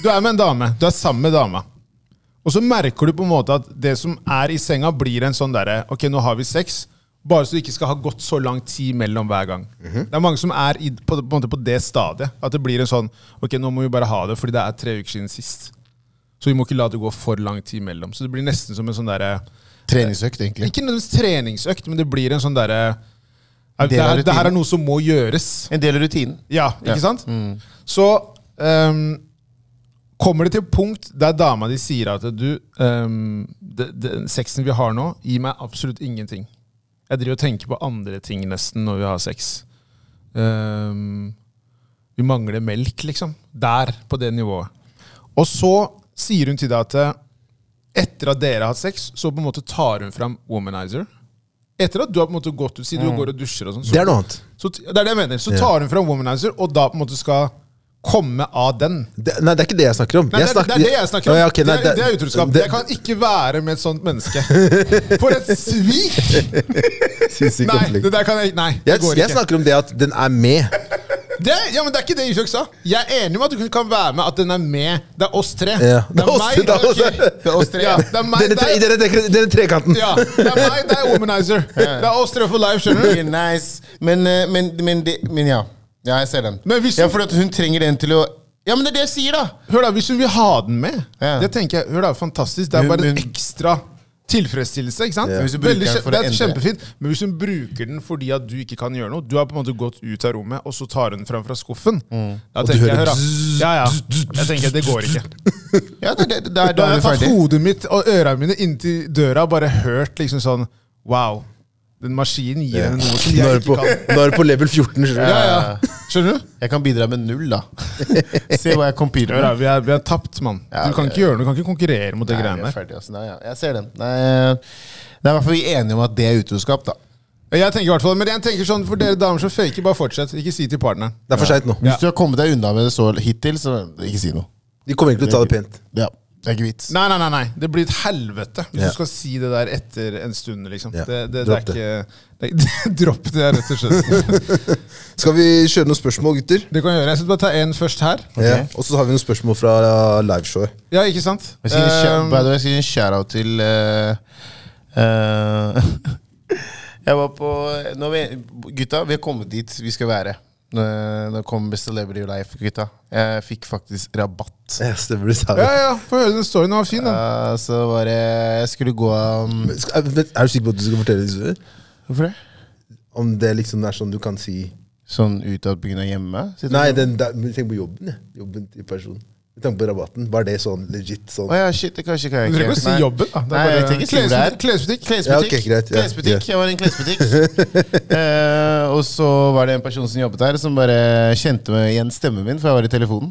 C: du er med en dame. Du er sammen med dama. Og så merker du på en måte at det som er i senga, blir en sånn derre Ok, nå har vi sex. Bare så det ikke skal ha gått så lang tid mellom hver gang.
A: Mhm.
C: Det er mange som er i, på, på, en måte på det stadiet. At det blir en sånn Ok, nå må vi bare ha det, fordi det er tre uker siden sist. Så vi må ikke la det gå for lang tid mellom. Så det blir nesten som en sånn derre
A: Treningsøkt, egentlig.
C: Ikke nødvendigvis treningsøkt, men det blir en sånn derre det,
A: Del av
C: her- det her er
A: rutinen.
C: noe som må gjøres.
A: En del av rutinen.
C: Ja, ikke sant? Så ehm, kommer det til et punkt der dama di sier at du, ehm, de- den sexen vi har nå, gir meg absolutt ingenting. Jeg driver og tenker på andre ting nesten når vi har sex. Ehm, vi mangler melk, liksom. Der, på det nivået. Og så sier hun til deg at eh, etter at dere har hatt sex, så på en måte tar hun fram womanizer. Etter at du har på en måte gått ut, si du går og dusjer og sånn. så
B: Det er noe annet.
C: så, t- det er det jeg mener. Så tar hun fra womanizer, og da på en måte skal komme av den.
B: Det, nei, det er ikke det jeg snakker om.
C: Nei, det,
B: Jeg
C: er-
B: snakker-
C: det er det jeg snakker om.
B: Å, ja, ok, nei,
C: det, er- det er utroskap.
B: det-
C: jeg kan ikke være med et sånt menneske. For et svik!
B: Sinnssyk
C: Nei,
B: konflikt.
C: det der kan jeg ikke. Nei, det
B: Jeg,
C: går
B: jeg
C: ikke.
B: snakker om det at den er med.
C: Det, ja, men det er ikke det Ishak sa. Jeg er enig med at du kan være med, at den er med. Det er oss tre.
B: Ja, det er oss tre,
C: meg,
B: det er oss
C: ok.
B: tre.
C: Det er oss tre. Ja, det er meg,
B: Denne,
C: det
B: tre, i
C: er,
B: denne, tre, denne trekanten.
C: ja, det er meg, det er womanizer. Det er oss tre for life, skjønner du.
A: Ok, nice. Men, eh, men, men, det, men ja. Ja, jeg ser den.
C: Men hvis-
A: ja, for at hun trenger den til å Ja, men det er det jeg sier, da!
C: Hør da, Hvis hun vil ha den med,
A: Ja.
C: det tenker jeg, hør da, fantastisk. Det er
A: Men-
C: bare en
A: men-
C: ekstra tilfredsstillelse. ikke sant?
A: Hvis du bruker
C: Veldig
A: den
C: kje-
A: for
C: det
A: å
C: er
A: endre.
C: kjempefint. Men hvis hun bruker den fordi at du ikke kan gjøre noe Du har på en måte gått ut av rommet, og så tar hun den fram fra skuffen. Da tenker jeg,
B: hører
C: hør da. Ja, ja. Jeg tenker, det går ikke.
A: Ja, det, det, det, er-
C: Da
A: da
C: har
A: er
C: jeg
A: vi
C: tatt
A: ferdige.
C: hodet mitt og ørene mine inntil døra og bare hørt liksom sånn Wow. Den maskinen gir henne noe som
B: Nå er
C: jeg
B: du på,
C: ikke kan.
B: nå er du på level 14. skjønner du.
C: Ja, ja. Skjønner du?
A: Eh, Jeg kan bidra med null, da. Se hva jeg competer
C: Hør da,
A: med.
C: vi er, vi er tapt, mann.
A: Ja,
C: Du kan
A: det-
C: ikke gjøre noe, du kan ikke konkurrere mot det
A: Nei, vi
C: greiene
A: er
C: der.
A: ferdige, altså. Nei, ja. Jeg ser den. Nei, eh, det er i hvert fall vi er enige om at det er utroskap, da.
C: Jeg tenker i hvert fall, men jeg tenker sånn, For dere damer som faker, bare fortsett. Ikke si til partneren.
B: Det er for seint nå.
A: Hvis du har kommet deg unna med det så hittil, så ikke si noe.
B: De kommer ikke til å ta det pent.
A: Ja, Det er ikke vits.
C: Nei, nei, nei, nei. det blir et helvete hvis
B: Ja.
C: du skal si det der etter en stund. liksom.
B: Ja.
C: Det, det, det
B: Dropp
C: er ikke... Det, dropp det, rett og slett.
B: Skal vi kjøre noen spørsmål, gutter?
C: Det kan jeg gjøre. Jeg skal bare ta en først her.
B: Ja. Og så har vi noen spørsmål fra liveshowet.
C: Ja, ikke sant?
A: Jeg skal gi en shout-
C: Ehm,
A: by the way, jeg skal gi en shout-out til eh, eh, Jeg var på nå er vi, Gutta, vi har kommet dit vi skal være. Nå, nå kommer Celebrity Life, gutta. Jeg fikk faktisk rabatt.
B: Ja, stemmer det, sa vi.
C: ja, ja, få høre den storyen. Den var fin, den.
A: Eh, så var det Jeg skulle gå um,
B: Skal- Er er du sikker på at du skal fortelle det?
A: Hvorfor det?
B: Om det liksom er sånn du kan si
A: Sånn utadbyggende hjemme? sitter
B: Nei,
A: du-
B: den, der- men tenk på jobben, jeg. Jobben til personen. Med tanke på rabatten. Var det sånn legit sånn?
A: Å ja, shit, det kanskje kan jeg
C: Du trenger ikke å si
A: Nei.
C: jobben, da. Det er
A: Nei, jeg
C: bare-
A: tenker ikke det her.
C: Klesbutikk.
B: Ja,
A: Klesbutikk.
B: ok, greit, ja.
A: klesbutikk. Jeg var i en klesbutikk. Eh, og så var det en person som jobbet her, som bare kjente meg igjen stemmen min, for jeg var i telefonen.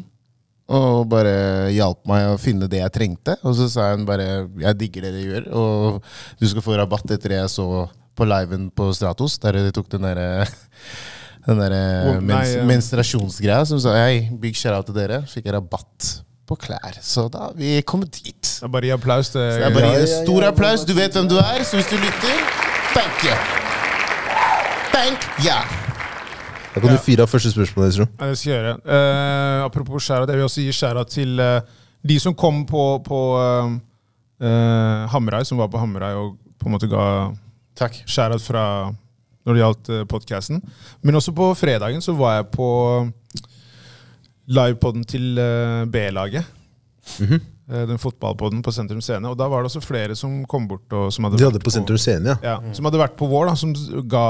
A: Og bare hjalp meg å finne det jeg trengte. Og så sa hun bare 'jeg digger det dere gjør', og du skal få rabatt etter det jeg så på liven på Stratos, der de tok den derre den der eh,
C: Å, nei,
A: mens,
C: ja.
A: menstruasjonsgreia som sa hei, big shout-out til dere. Fikk jeg rabatt på klær. Så da har vi kommet dit.
C: Det er bare å gi applaus til
A: Det er bare
B: Ja, ja, ja,
A: stor
B: ja.
A: applaus. Du vet hvem du er, så hvis du lytter, thank you. Thank you.
B: Da kan du fyre av første spørsmål. Jeg tror.
C: Ja, det skal jeg gjøre. Eh, apropos skjæra, jeg vil også gi skjæra til eh, de som kom på, på eh, eh, Hamrai, som var på Hamrai og på en måte ga
A: Takk.
C: skjæra fra når det gjaldt uh, podkasten. Men også på fredagen så var jeg på eh, livepoden til eh, B-laget.
B: Mhm.
C: Eh, den fotballpoden på Sentrum Scene. Og da var det også flere som kom bort og som hadde
B: De hadde
C: vært
B: på Sentrum Scene, ja.
C: ja, som hadde vært på vår, da, som ga,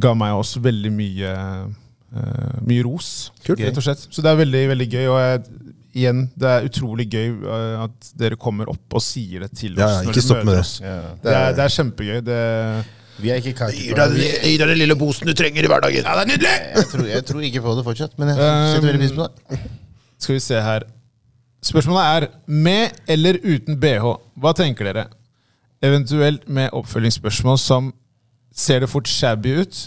C: ga meg og oss veldig mye, eh, mye ros.
B: Kult.
C: Rett og slett. Så det er veldig veldig gøy. Og jeg, igjen, det er utrolig gøy eh, at dere kommer opp og sier det til oss.
B: Ja, ja,
C: når
B: ikke
C: dere
B: stopp
C: møter
B: med det.
C: oss. Det er, det er kjempegøy. Det,
A: Vi er ikke
B: Gi deg- gi deg den lille posen du trenger i hverdagen. Ja, det er nydelig!
A: Jeg tror, jeg tror ikke på det fortsatt, men jeg setter veldig pris på det.
C: skal vi se her. Spørsmålet er med eller uten bh. Hva tenker dere? Eventuelt med oppfølgingsspørsmål som ser det fort shabby ut?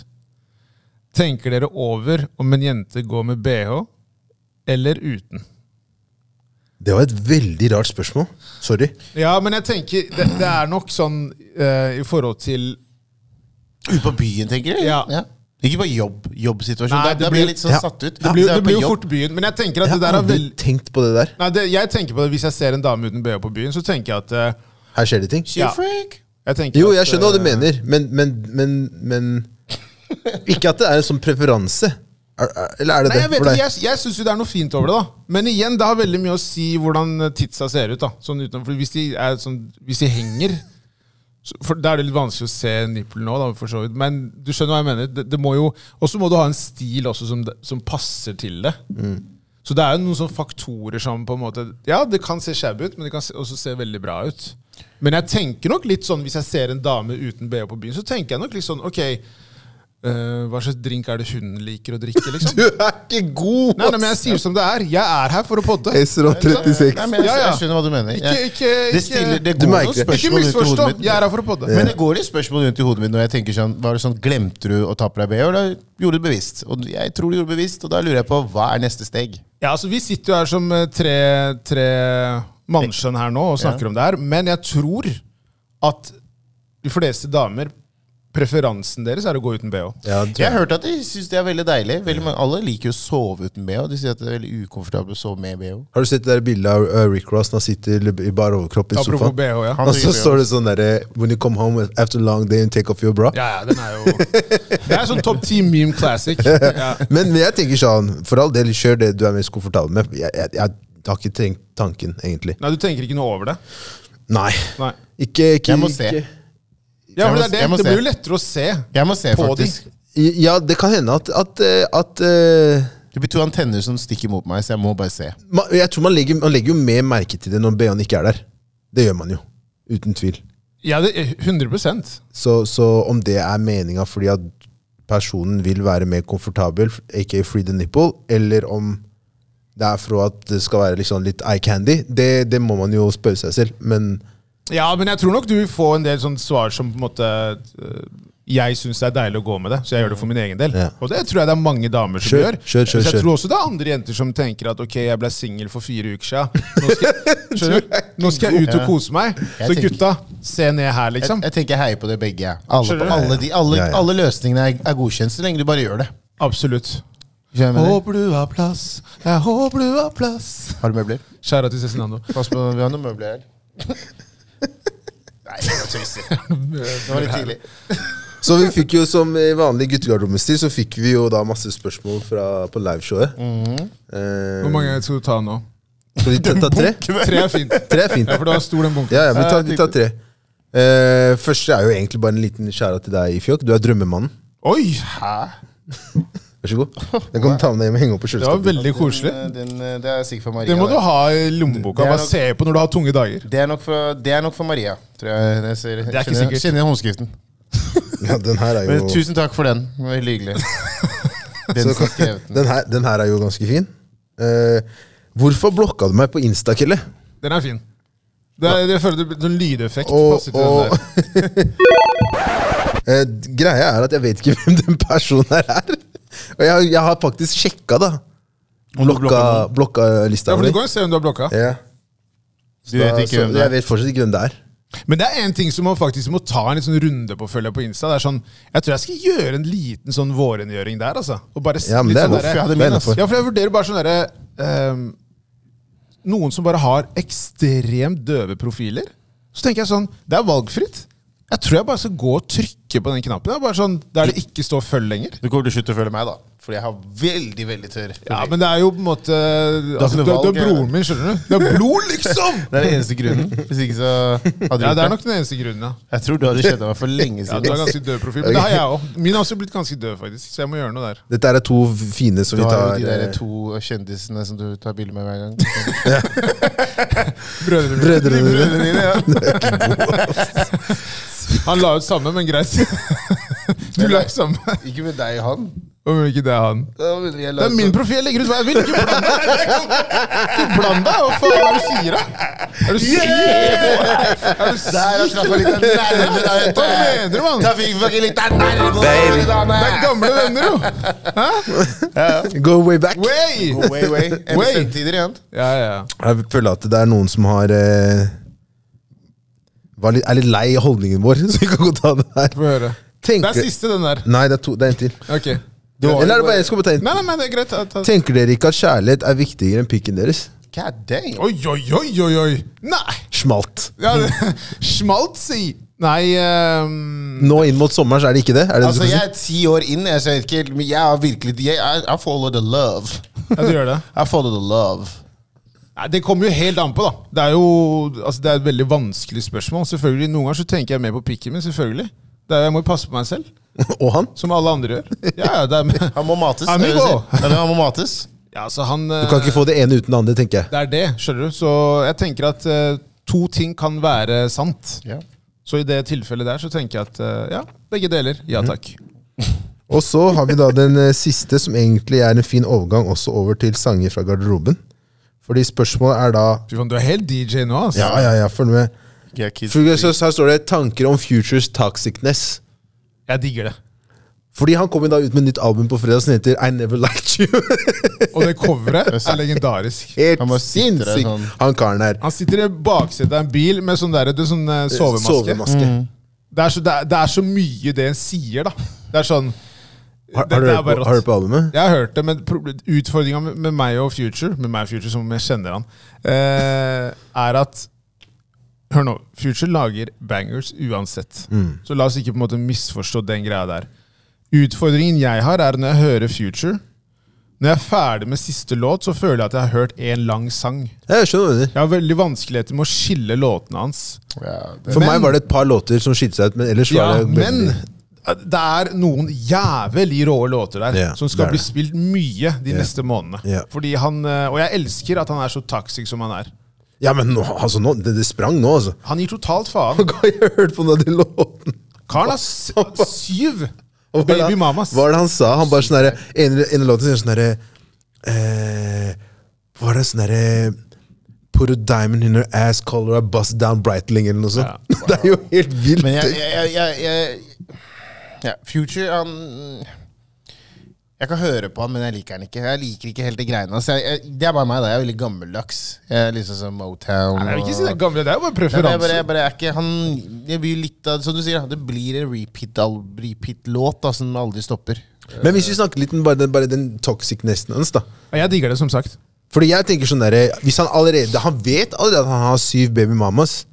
C: Tenker dere over om en jente går med bh eller uten?
B: Det var et veldig rart spørsmål. Sorry.
C: Ja, men jeg tenker det, det er nok sånn eh, i forhold til
A: Ute på byen, tenker du?
C: Um, Ja.
A: Ikke på jobb, jobbsituasjon.
C: Nei,
A: Da-
C: det
A: Da blir
C: blir-
A: jeg litt sånn
B: ja.
A: satt ut.
C: Det blir,
A: Så
C: jo-
A: jeg er
C: det
A: på
C: blir jo
A: jobb.
C: fort byen, men jeg tenker at
B: Jeg
C: det
B: har
C: der er
B: aldri
C: veldig
B: tenkt på det der.
C: Nei, det, jeg tenker på det Hvis jeg ser en dame uten bh på byen, så tenker jeg at eh,
B: Her skjer det ting.
A: She a
C: Ja.
A: freak.
C: jeg tenker
B: Jo,
C: at,
B: jeg skjønner hva du
C: eh,
B: mener, men, men, men, men Ikke at det er en sånn preferanse. Er, er, eller er det
C: Nei,
B: det
C: Jeg vet
B: for
C: ikke,
B: deg?
C: jeg, jeg syns jo det er noe fint over det, da. Men igjen, det har veldig mye å si hvordan titsa ser ut. da Sånn utenfor, hvis de, er sånn, hvis de henger så- For Da er det litt vanskelig å se nippelen nå, da, for så vidt. Men du skjønner hva jeg mener. Det, det må jo Og så må du ha en stil også som, det- som passer til det.
B: Mm.
C: Så det er jo noen sånne faktorer som på en måte Ja, det kan se shabby ut, men det kan se, også se veldig bra ut. Men jeg tenker nok litt sånn hvis jeg ser en dame uten BH på byen, så tenker jeg nok litt sånn OK, eh, hva slags drink er det hun liker å drikke, liksom?
B: Du er ikke god!
C: Nei, nei, men jeg sier som det er. Jeg er her for å podde.
A: Nei,
B: 36.
A: men jeg,
C: Ja, ja.
A: jeg skjønner hva du mener.
C: Ikke,
A: Jeg-
C: ikke,
A: det
C: ikke,
A: stiller, det
B: Du
A: går
B: merker
A: noen
B: det.
C: ikke
A: spørsmål rundt i
C: misforstå.
A: hodet mitt.
C: Jeg er her for å podde.
A: Men det går litt spørsmål rundt i hodet mitt når jeg tenker sånn, var det sånn, Glemte du å ta på deg BH, eller gjorde du det bevisst? Og jeg tror du gjorde det bevisst, og da lurer jeg på hva er neste steg?
C: Ja, altså, vi sitter jo her som eh, tre, tre mannskjønn her nå og snakker om det her, men jeg tror at de fleste damer Preferansen deres er å gå uten bh.
B: Ja, det
A: Jeg
B: tror jeg.
A: har hørt at de syns det er veldig deilig. Veldig mange, alle liker jo å sove uten BH. De sier at det er veldig ukomfortabelt å sove med E BH.
B: Har du sett det der bildet av uh, Rick Ross når han sitter i bar overkropp i
C: Apropos
B: sofaen?
C: bh, ja.
A: Han
B: Og så
A: driver jo.
B: står det sånn derre When you come home after a long day and take off your bra.
C: Ja, ja, den er jo Det er sånn topp ti meme classic. Ja.
B: Men, men jeg tenker sånn, for all del, kjør det du er mest komfortabel med. Jeg, jeg, jeg har ikke trengt tanken, egentlig.
C: Nei, du tenker ikke noe over det?
B: Nei.
C: Nei.
B: Ikke, ikke
A: Jeg må se.
B: ikke-
C: Ja,
A: Jeg
C: men
A: må-
C: det, er det,
A: jeg må
C: det blir
A: se.
C: jo lettere å se.
A: Jeg må se,
C: På de.
A: faktisk.
B: Ja, det kan hende at, at, eh, at eh,
A: Det blir to antenner som stikker mot meg, så jeg må bare se.
B: man, Jeg tror man legger, man legger jo mer merke til det når BH-en ikke er der. Det gjør man jo. Uten tvil.
C: Ja, det, 100
B: Så, så om det er meninga fordi at personen vil være mer komfortabel, aka free the nipple, eller om det er for at det skal være liksom litt eye candy, det, det må man jo spørre seg selv. Men
C: Ja, men jeg tror nok du vil få en del sånne svar som på en måte øh, Jeg syns det er deilig å gå med det, så jeg gjør det for min egen del.
B: Ja.
C: Og det tror jeg det er mange damer som
B: Kjør,
C: gjør.
B: kjør, kjør,
C: Så jeg
B: kjør.
C: tror også det er andre jenter som tenker at ok, jeg ble singel for fire uker siden. Nå skal, skjønner du? Nå skal jeg ut og kose meg. Så
A: tenker-
C: gutta, se ned her,
A: Jeg,
C: liksom.
A: jeg tenker jeg heier på det begge. jeg. Alle,
C: Skjønner du?
A: alle, de, alle,
B: Ja, ja.
A: alle løsningene er, er godkjent så lenge du bare gjør det.
C: Absolutt.
A: Skjønner du hva jeg mener?
C: Håper du har plass, jeg håper du har plass.
A: Har du møbler?
C: Kjære til Cezinando.
A: Pass på, vi har noen møbler her. Nei, det var tøysig. Det var litt tidlig.
B: Så vi fikk jo som i vanlig guttegarderobestil, så fikk vi jo da masse spørsmål fra, på liveshowet.
A: Mhm.
B: Eh,
C: Hvor mange skal du ta nå?
B: Skal vi ta, ta tre?
C: Tre er fint.
B: Tre er fint.
C: Ja, for du har stor den bunken.
B: Ja, ja, vi tar, vi tar tre. Eh, første er jo egentlig bare en liten skjæra til deg, Fjokk. Du er drømmemannen.
C: Oi! Hæ?
B: Vær så god. Den kan du ta med deg hjem og henge opp på
C: Det var
B: kjøleskapet.
C: veldig koselig.
A: Den, den, eh, det er sikkert for Maria.
C: Det må du
A: da.
C: ha i lommeboka.
A: Det er
C: Bare
A: nok-
C: se på når du har tunge dager.
A: Det, er nok for, det er nok for Maria, tror jeg. jeg ser,
C: er ikke
A: kjenner-
C: sikkert.
A: Kjenner jeg håndskriften.
B: Ja, den her er
A: Men,
B: jo
A: tusen takk for den. Det var Veldig hyggelig. Den
B: Så
A: som
B: kan-
A: skrev den.
B: den, her, den her er jo ganske fin. Eh, hvorfor blokka du meg på Insta, Kelle?
C: Den er fin. Det er, jeg føler det blir sånn lydeffekt
B: Og,
C: passer til
B: og
C: den der.
B: Eh, Greia er at jeg vet ikke hvem den personen her er. Og jeg, jeg har faktisk sjekka, da. Blokka, blokka lista
C: Ja, for
B: mi.
C: du kan jo se om du har blokka.
B: Ja.
A: Du vet ikke
B: Så-
A: hvem
B: så
A: det
B: Jeg
A: er.
B: vet fortsatt ikke hvem det er.
C: Men det er en ting som man faktisk må ta en litt sånn runde på følge på Insta. Det er sånn, Jeg tror jeg skal gjøre en liten sånn vårrengjøring der. altså. Og bare s-
B: Ja, men
C: litt
B: det er altså.
C: sånn
B: lov.
C: derre-
B: Jeg hadde
A: min,
C: Ja,
B: ass.
C: for jeg vurderer bare sånn derre ehm, Noen som bare har ekstremt døve profiler. Så tenker jeg sånn Det er valgfritt. Jeg tror jeg bare skal gå og trykke på den knappen. Det er bare sånn, Der det ikke står 'følg' lenger.
A: Du kommer til å slutte å følge meg, da. Fordi jeg har veldig, veldig tørr.
C: Ja, men det er jo på en måte altså,
A: ikke noe
C: det, det er
A: valg,
C: broren min, skjønner du. Det er blod, liksom!
A: Det er den eneste grunnen. Hvis ikke så hadde du
C: Ja, Det
A: gjort
C: er nok den eneste grunnen, ja.
A: Jeg tror du hadde kjent meg for lenge
C: ja du
A: siden.
C: har ganske død profil. Men det har jeg òg. Min har også blitt ganske død, faktisk. Så jeg må gjøre noe der.
B: Dette her er to fine som
A: du
B: vi
A: har jo
B: tar.
A: de der
B: eh,
A: to kjendisene som du tar bilde med hver gang.
C: Brødrene mine.
B: Brødrene
C: De
B: dine.
C: dine, ja. Han la ut samme, men greit. Du la ut samme.
A: Ikke med deg, han.
C: Om ikke det er han.
A: Da begynner jeg å
C: Det
A: lage
C: er min
A: sånn-
C: profil! Jeg legger ut hva jeg vil! Ikke bland deg! Ikke bland deg! Hva faen er det du sier, da? Er du syk? Er du
A: Der har
C: syk?
A: slappa litt av nerver der
C: Hva
A: ute.
C: mener du, mann?
A: Da fikk vi ikke litt av nerver
B: Baby.
A: der
C: Det er
A: ute.
C: gamle venner, jo!
B: Go way back.
C: Way!
A: Way, way.
C: Way.
A: MSN-tider igjen.
C: Ja, ja.
B: Jeg føler at det er noen som har eh, var litt, er litt lei av holdningen vår, så vi kan godt ta det her.
C: Få høre. Det
B: Tenker,
C: er siste, den der.
B: Nei, det er, to, det er en til.
C: Ok.
B: Eller er det bare jeg skal bare ta en?
C: Nei, nei, nei, det er greit. Ta- ta-
B: Tenker dere ikke at kjærlighet er viktigere enn pikken deres?
A: God damn.
C: Oi, oi, oi, oi, oi! Nei!
B: Smalt.
C: Ja, det- Smalt, si! Nei ehm,
B: Nå inn mot sommeren så er det ikke det? Er det det
A: Altså,
B: du skal
A: jeg er ti år inn, jeg ser ikke helt, men jeg har virkelig jeg, I, I follow the love.
C: Ja, du gjør det.
A: I follow the love.
C: Nei, det kommer jo helt an på, da. Det er jo altså, det er et veldig vanskelig spørsmål. Selvfølgelig, Noen ganger så tenker jeg mer på pikken min, selvfølgelig. Det er, jeg må jo passe på meg selv,
B: si? Og han?
C: som alle andre gjør. Ja, ja, det er,
A: Han må mates. det er det
C: Amigo.
A: du sier. Ja, men han må mates.
C: ja, altså, han, eh,
B: Du kan ikke få det ene uten det andre, tenker jeg.
C: Det er det, skjønner du. Så jeg tenker at eh, to ting kan være sant.
A: Ja.
C: Så i det tilfellet der så tenker jeg at eh, ja, begge deler. Ja takk.
B: Og så har vi da den eh, siste, som egentlig er en fin overgang også over til sanger fra garderoben. Fordi spørsmålet er da
C: Fy faen, du er helt DJ nå, altså.
B: Ja, ja, ja, følg med.
A: Yeah, kids.
B: For så Her står det 'Tanker om futures toxicness'.
C: Jeg digger det.
B: Fordi han kom jo da ut med nytt album på fredag som heter 'I Never Liked You'.
C: Og det coveret er legendarisk.
B: Helt
A: Han bare sitter der
B: sinnssykt,
A: sånn.
B: han karen der.
C: Han sitter i baksetet av en bil med sånn, der, du, sånn eh, sovemaske. Det, er så, det, er, det er så mye det en sier, da. Det er sånn
B: Har,
C: Det-
B: har, du
C: det er
B: hørt
C: bare
B: på,
C: rått.
B: har du hørt på albumet?
C: Jeg har hørt det, men utfordringa med, med meg og Future, med meg og Future som jeg kjenner han, eh, er at Hør nå. Future lager bangers uansett. Så la oss ikke på en måte misforstå den greia der. Utfordringen jeg har, er når jeg hører Future Når jeg er ferdig med siste låt, så føler jeg at jeg har hørt én lang sang.
B: Jeg skjønner hva du mener.
C: Jeg har veldig vanskeligheter med å skille låtene hans.
A: Ja, det,
B: For
C: Men-
B: meg var det et par låter som skilte seg ut, men ellers
C: Ja,
B: var det
C: men det er noen jævlig rå låter der
B: Ja,
C: som skal
B: det er
C: bli
B: det.
C: spilt mye de neste månedene.
B: Ja.
C: Fordi han, eh, Og jeg elsker at han er så toxic som han er.
B: Ja, men nå, altså, nå, det, det sprang nå, altså.
C: Han gir totalt faen.
B: Jeg har hørt på noen av de låtene.
C: Karen er s- syv
B: Og hva er det
C: baby
B: han-
C: mamas.
B: Hva er det han sa? Han bare sånn derre En en av låtene sier sånn derre eh, Var det sånn derre Put a diamond in her ass color I bust down Breitling eller noe sånt. Det er jo helt vilt.
A: men jeg, jeg, jeg, jeg, jeg ja, Future, han Jeg kan høre på han, men jeg liker han ikke. Jeg liker ikke helt de greiene. Altså, jeg, jeg, det er bare meg, da. Jeg er veldig gammeldags. Jeg er liksom sånn Motown.
C: Jeg vil ikke si det
A: og-
C: er gamle, det er jo bare
A: Nei, men jeg bare,
C: preferanse.
A: jeg bare er ikke Han Det blir litt av Som du sier, det blir en repeat-låt repeat da, som aldri stopper.
B: Men hvis vi snakker litt om bare den, bare den toxic-nesten hans, da.
C: Jeg digger det, som sagt.
B: Fordi jeg tenker sånn derre Hvis han allerede Han vet allerede at han har syv baby mamas,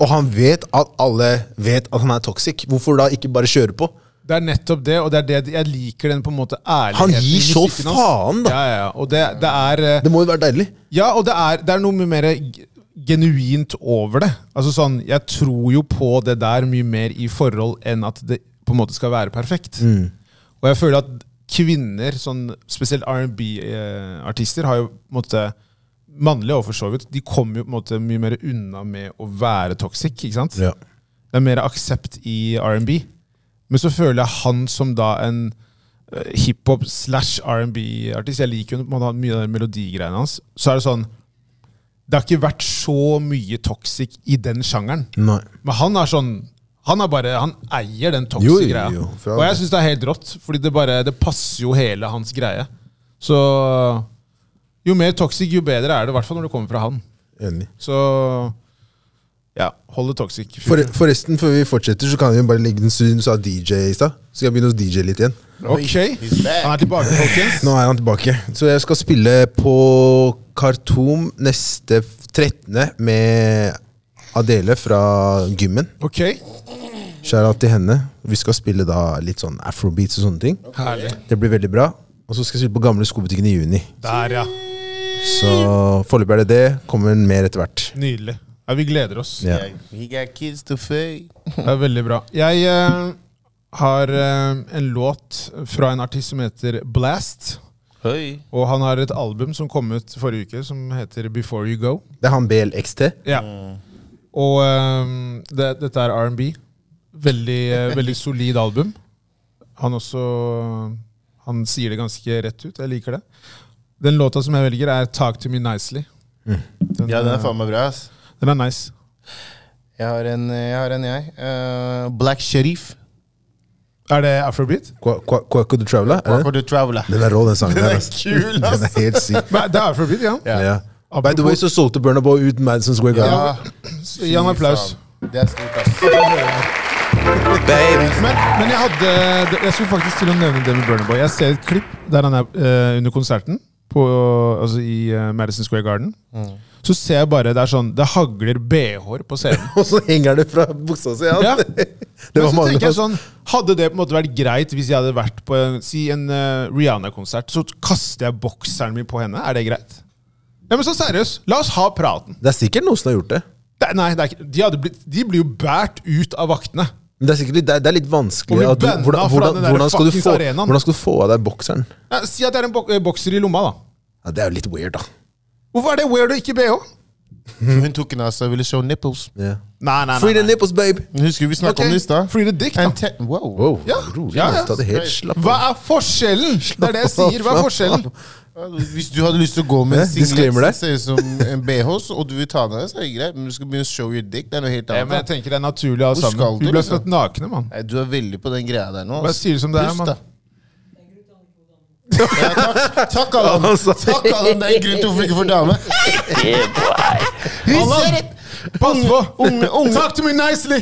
B: og han vet at alle vet at han er toxic, hvorfor da ikke bare kjøre på?
C: Det er nettopp det, og det er det jeg liker den på en måte
B: Han
C: ærligheten.
B: gir
C: i
B: så
C: musikken hans.
B: faen, da.
C: Ja, ja, ja. Og det, det er eh,
B: Det må jo være deilig.
C: Ja, og det er, det er noe mye mer g- genuint over det. Altså sånn, Jeg tror jo på det der mye mer i forhold enn at det på en måte skal være perfekt. Og jeg føler at kvinner, sånn, spesielt R&B-artister, har jo på en måte Mannlige og for så vidt. De kommer jo på en måte mye mer unna med å være toxic. ikke sant?
B: Ja.
C: Det er mer aksept i R&B. Men så føler jeg han som da en eh, hiphop slash R&B-artist Jeg liker jo på en måte mye av den melodigreiene hans. Så er det sånn Det har ikke vært så mye toxic i den sjangeren.
B: Nei.
C: Men han er sånn Han er bare Han eier den
B: Jo,
C: toxic
B: jo,
C: greia.
B: jo, for all
C: Og jeg
B: del.
C: syns det er helt rått, fordi det bare Det passer jo hele hans greie. Så jo mer toxic, jo bedre er det, i hvert fall når det kommer fra han.
B: Enig.
C: Så ja, hold det toxic.
B: For, forresten, før vi fortsetter, så kan vi bare legge den stund du sa DJ i stad. Så skal jeg begynne å DJ litt igjen.
C: Ok,
A: He's back.
C: han er tilbake, folkens.
B: Nå er han tilbake. Så jeg skal spille på Khartoum neste f- 13. med Adele fra gymmen.
C: Ok,
B: Skjæra til henne. Vi skal spille da litt sånn afrobeats og sånne ting.
C: herlig.
B: Det blir veldig bra. Og så skal jeg spille på Gamle skobutikken i juni.
C: Der, ja.
B: Så foreløpig er det det. Kommer mer etter hvert.
C: Nydelig. Ja, vi gleder oss.
B: Ja.
A: He got kids to feed.
C: Det er veldig bra. Jeg eh, har eh, en låt fra en artist som heter Blast.
A: Oi.
C: Og han har et album som kom ut forrige uke, som heter Before You Go.
B: Det er han BLXT.
C: Ja. Og ehm, det, dette er R&B. Veldig, eh, veldig solid album. Han også Han sier det ganske rett ut. Jeg liker det. Den låta som jeg velger, er 'Talk to me nicely'. Den,
A: Mm. Ja, den er
C: eh,
A: faen meg bra, ass.
C: den er nice.
A: Jeg har en, jeg. Har en, jeg. Eh, Black Sharif.
C: Er det afrobeat?
B: Qua- Qua- Quaco the Traveler. er det?
A: Walker the Traveler.
B: Den er rå, den sangen.
A: Den
B: der,
A: er
B: ass.
A: kul, ass.
B: Den er helt syk.
C: Nei, det er afrobeat, ja.
A: Ja.
B: Ja. By the way, så solgte Burna Boy ut Madison Square Garden.
A: Ja.
C: Gi ham
A: Fy
C: applaus.
A: faen. Det er stort, ass. Baby.
C: Men, men jeg hadde Jeg skulle faktisk til å nevne det med Burner Boy. Jeg ser et klipp der han er eh, under konserten på, altså i eh, Madison Square Garden.
A: Mm.
C: Så ser jeg bare det er sånn Det hagler BH-er på scenen.
B: Og så henger det fra buksa si!
C: Ja.
B: Ja. Det
C: Men
B: var
C: så
B: mange
C: tenker jeg sånn Hadde det på en måte vært greit hvis jeg hadde vært på en, si en eh, Rihanna-konsert, så kaster jeg bokseren min på henne? Er det greit? Ja, men så seriøst, la oss ha praten.
B: Det er sikkert noen som har gjort det.
C: Det, nei, det er ikke, de, hadde blitt, de blir jo båret ut av vaktene.
B: Men det er sikkert litt, det er, det er litt
C: Og vi
B: vanskelig. at du-
C: banna
B: Hvordan,
C: fra
B: hvordan,
C: den der
B: hvordan, skal du
C: fuckings
B: få,
C: arenaen.
B: hvordan skal du få av deg bokseren?
C: Nei, si at det er en bok, eh, bokser i lomma, da.
B: Ja, det er jo litt weird, da.
C: Hvorfor er det weird og ikke BH?
B: Mhm.
A: Hun tok den av seg og ville show nipples.
B: Ja.
C: Nei, nei,
B: Free the nipples, babe!
A: Husker vi snakket
C: Ok,
A: om det i stad?
C: free the dick, da.
A: And te- Wow.
B: Wow,
C: Ja.
B: rolig.
C: Ja, ja.
B: nå, ta det helt slapp av.
C: Hva er forskjellen? Det er det jeg sier. Hva er forskjellen?
A: Hvis du hadde lyst til å gå med
B: Hæ?
A: en singlet
B: Eh,
A: som
B: Disclaimer der?
A: ser ut som en BH, så- og du vil ta den av deg, så er det greit. Men du skal begynne å show your dick. Det er noe helt
C: Ja, men jeg
A: annet. da.
C: tenker det er naturlig å ha
A: Hvor skal
C: sammen.
A: du,
C: Vi ble
A: liksom?
C: født nakne, mann.
A: Nei, du er veldig på den greia der nå.
C: Bare
A: ass.
C: sier det som det er,
A: Pust,
C: mann.
A: da. Ja, takk, takk Alan.
B: altså.
A: Takk, Alan. Det er en grunn til hvorfor du ikke får dame.
C: Allan, pass på! Talk to me nicely!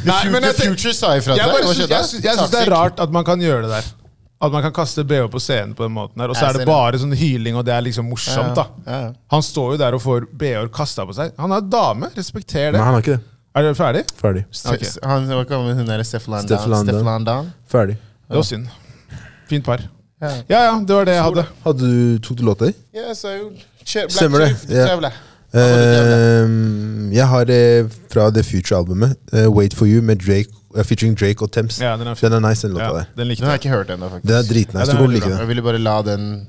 C: Nei, men
A: The
C: jeg tenker
A: Future sa ifra til
C: jeg,
A: deg.
C: bare
A: Hva
C: syns-
A: skjedde?
C: jeg, syns- jeg syns det er
A: Takk,
C: rart at man kan gjøre det der. At man kan kaste BH på scenen på den måten her. Og så
A: Jeg
C: er
A: ser
C: det
A: det.
C: bare sånn hyling, og det er liksom morsomt,
A: Ja, ja,
C: da.
A: ja.
C: Han står jo der og får BH-er kasta på seg. Han er dame, respekter
B: Nei,
C: det.
B: han har ikke det.
C: Er dere ferdig?
B: Ferdig.
A: Se-
C: Ok.
A: se- Han hva kaller hun der? Stefflan
B: Steff
A: Down?
B: Landan.
A: Steff Landan?
B: Ferdig.
C: Det var synd. Fint par.
A: Ja.
C: Ja ja, det var det jeg hadde.
B: Hadde du, tok du låta di?
A: Ja, så er jo Che- Black
B: Stemmer det,
A: Chief,
B: ja. Eh,
A: Trevla.
B: Ehm, jeg har eh, fra The Future-albumet eh, Wait For You med Drake, eh, featuring Drake og Thames.
C: Ja, den er fin.
B: den er nice, den låta
C: Ja,
B: der.
C: den
A: Den
C: likte
A: har
C: jeg.
A: jeg ikke hørt ennå, faktisk.
B: Den er dritnice. du
C: Ja, den er
B: kommer
C: veldig
B: like den.
A: Jeg ville bare la den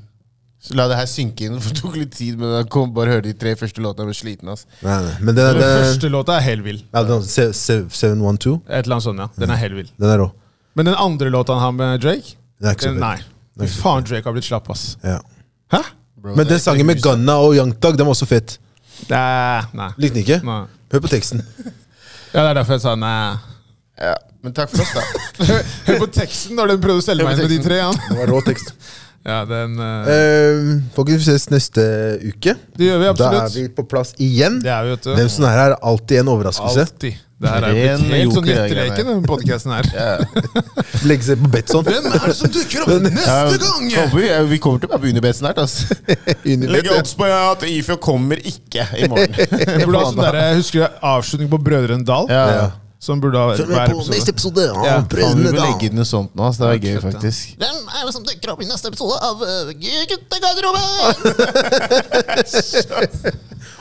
A: La det her synke inn. For det tok litt tid, men jeg kom bare hørte de tre første låtene og ble sliten. ass.
B: Nei, nei. Men den er,
C: Den
B: den er,
C: første låta er helt vill.
B: ja, den er se- se- 712.
C: Et eller annet sånt, ja.
B: Mm.
C: Den er helt vill.
B: Den er rå.
C: Men den andre låta han har med Drake,
B: Den er ikke så
C: den,
B: fett.
C: nei. Fy faen, Drake har blitt slapp, ass.
B: Ja.
C: Hæ?
A: Bro,
B: Men
A: det er
B: den sangen med Gunna og Young Thug, den var også fet.
C: Nei. nei.
B: Likte den ikke?
C: Nei.
B: Hør på teksten.
C: Ja, det er derfor jeg sa nei.
A: Ja, men takk for oss, da.
C: Hør hør på teksten når den prøvde å selge
A: Hør på
C: meg inn med de
A: teksten.
C: tre. Ja,
B: Det var rå tekst.
C: ja den eh,
B: Ehm, Folkens, vi ses neste uke.
C: Det gjør
B: Da
C: vi
B: er
C: absolutt.
B: vi på plass igjen.
C: Det er vi, vet
B: Hvem
C: du.
B: som er her, er alltid en overraskelse.
C: Alltid. Det her er blitt
A: Ren
C: helt sånn
A: joker, jeg,
C: gjetteleke,
A: greier.
C: den podkasten her.
B: Legge seg på Betson.
C: Hvem er det som dukker opp neste gang?
A: Håper vi, vi Eh, kommer til å være på Unibet snart. ass. Legger odds på at IFJ kommer ikke i morgen.
C: Jeg burde ha sånn der, jeg husker jeg avslutning på Brødrene Dal.
A: Ja.
B: Ja.
C: Som burde ha vært hver episode.
B: episode av
C: Ja,
A: Faen, vi bør legge inn noe sånt nå. ass. Det var gøy,
C: fett, ja.
A: faktisk.
D: Hvem er det som dukker eh, opp i neste episode av uh, Guttegarderoben?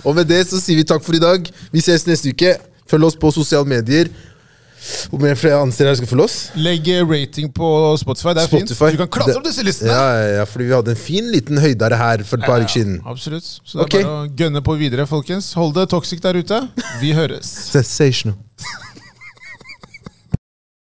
B: Og med det så sier vi takk for i dag. Vi ses neste uke. Følg oss på sosiale medier. Hvor mange flere andre steder jeg skal følge oss?
C: Legg eh, rating på Spotify. Det er
B: Spotify.
C: fint. Du kan klatre opp disse listene.
B: Ja, ja, ja, fordi vi hadde en fin liten høydere her for et par uker siden.
C: Absolutt. Så det er
B: Ok.
C: bare å gønne på videre, folkens. Hold det toxic der ute. Vi høres.
B: Sensational.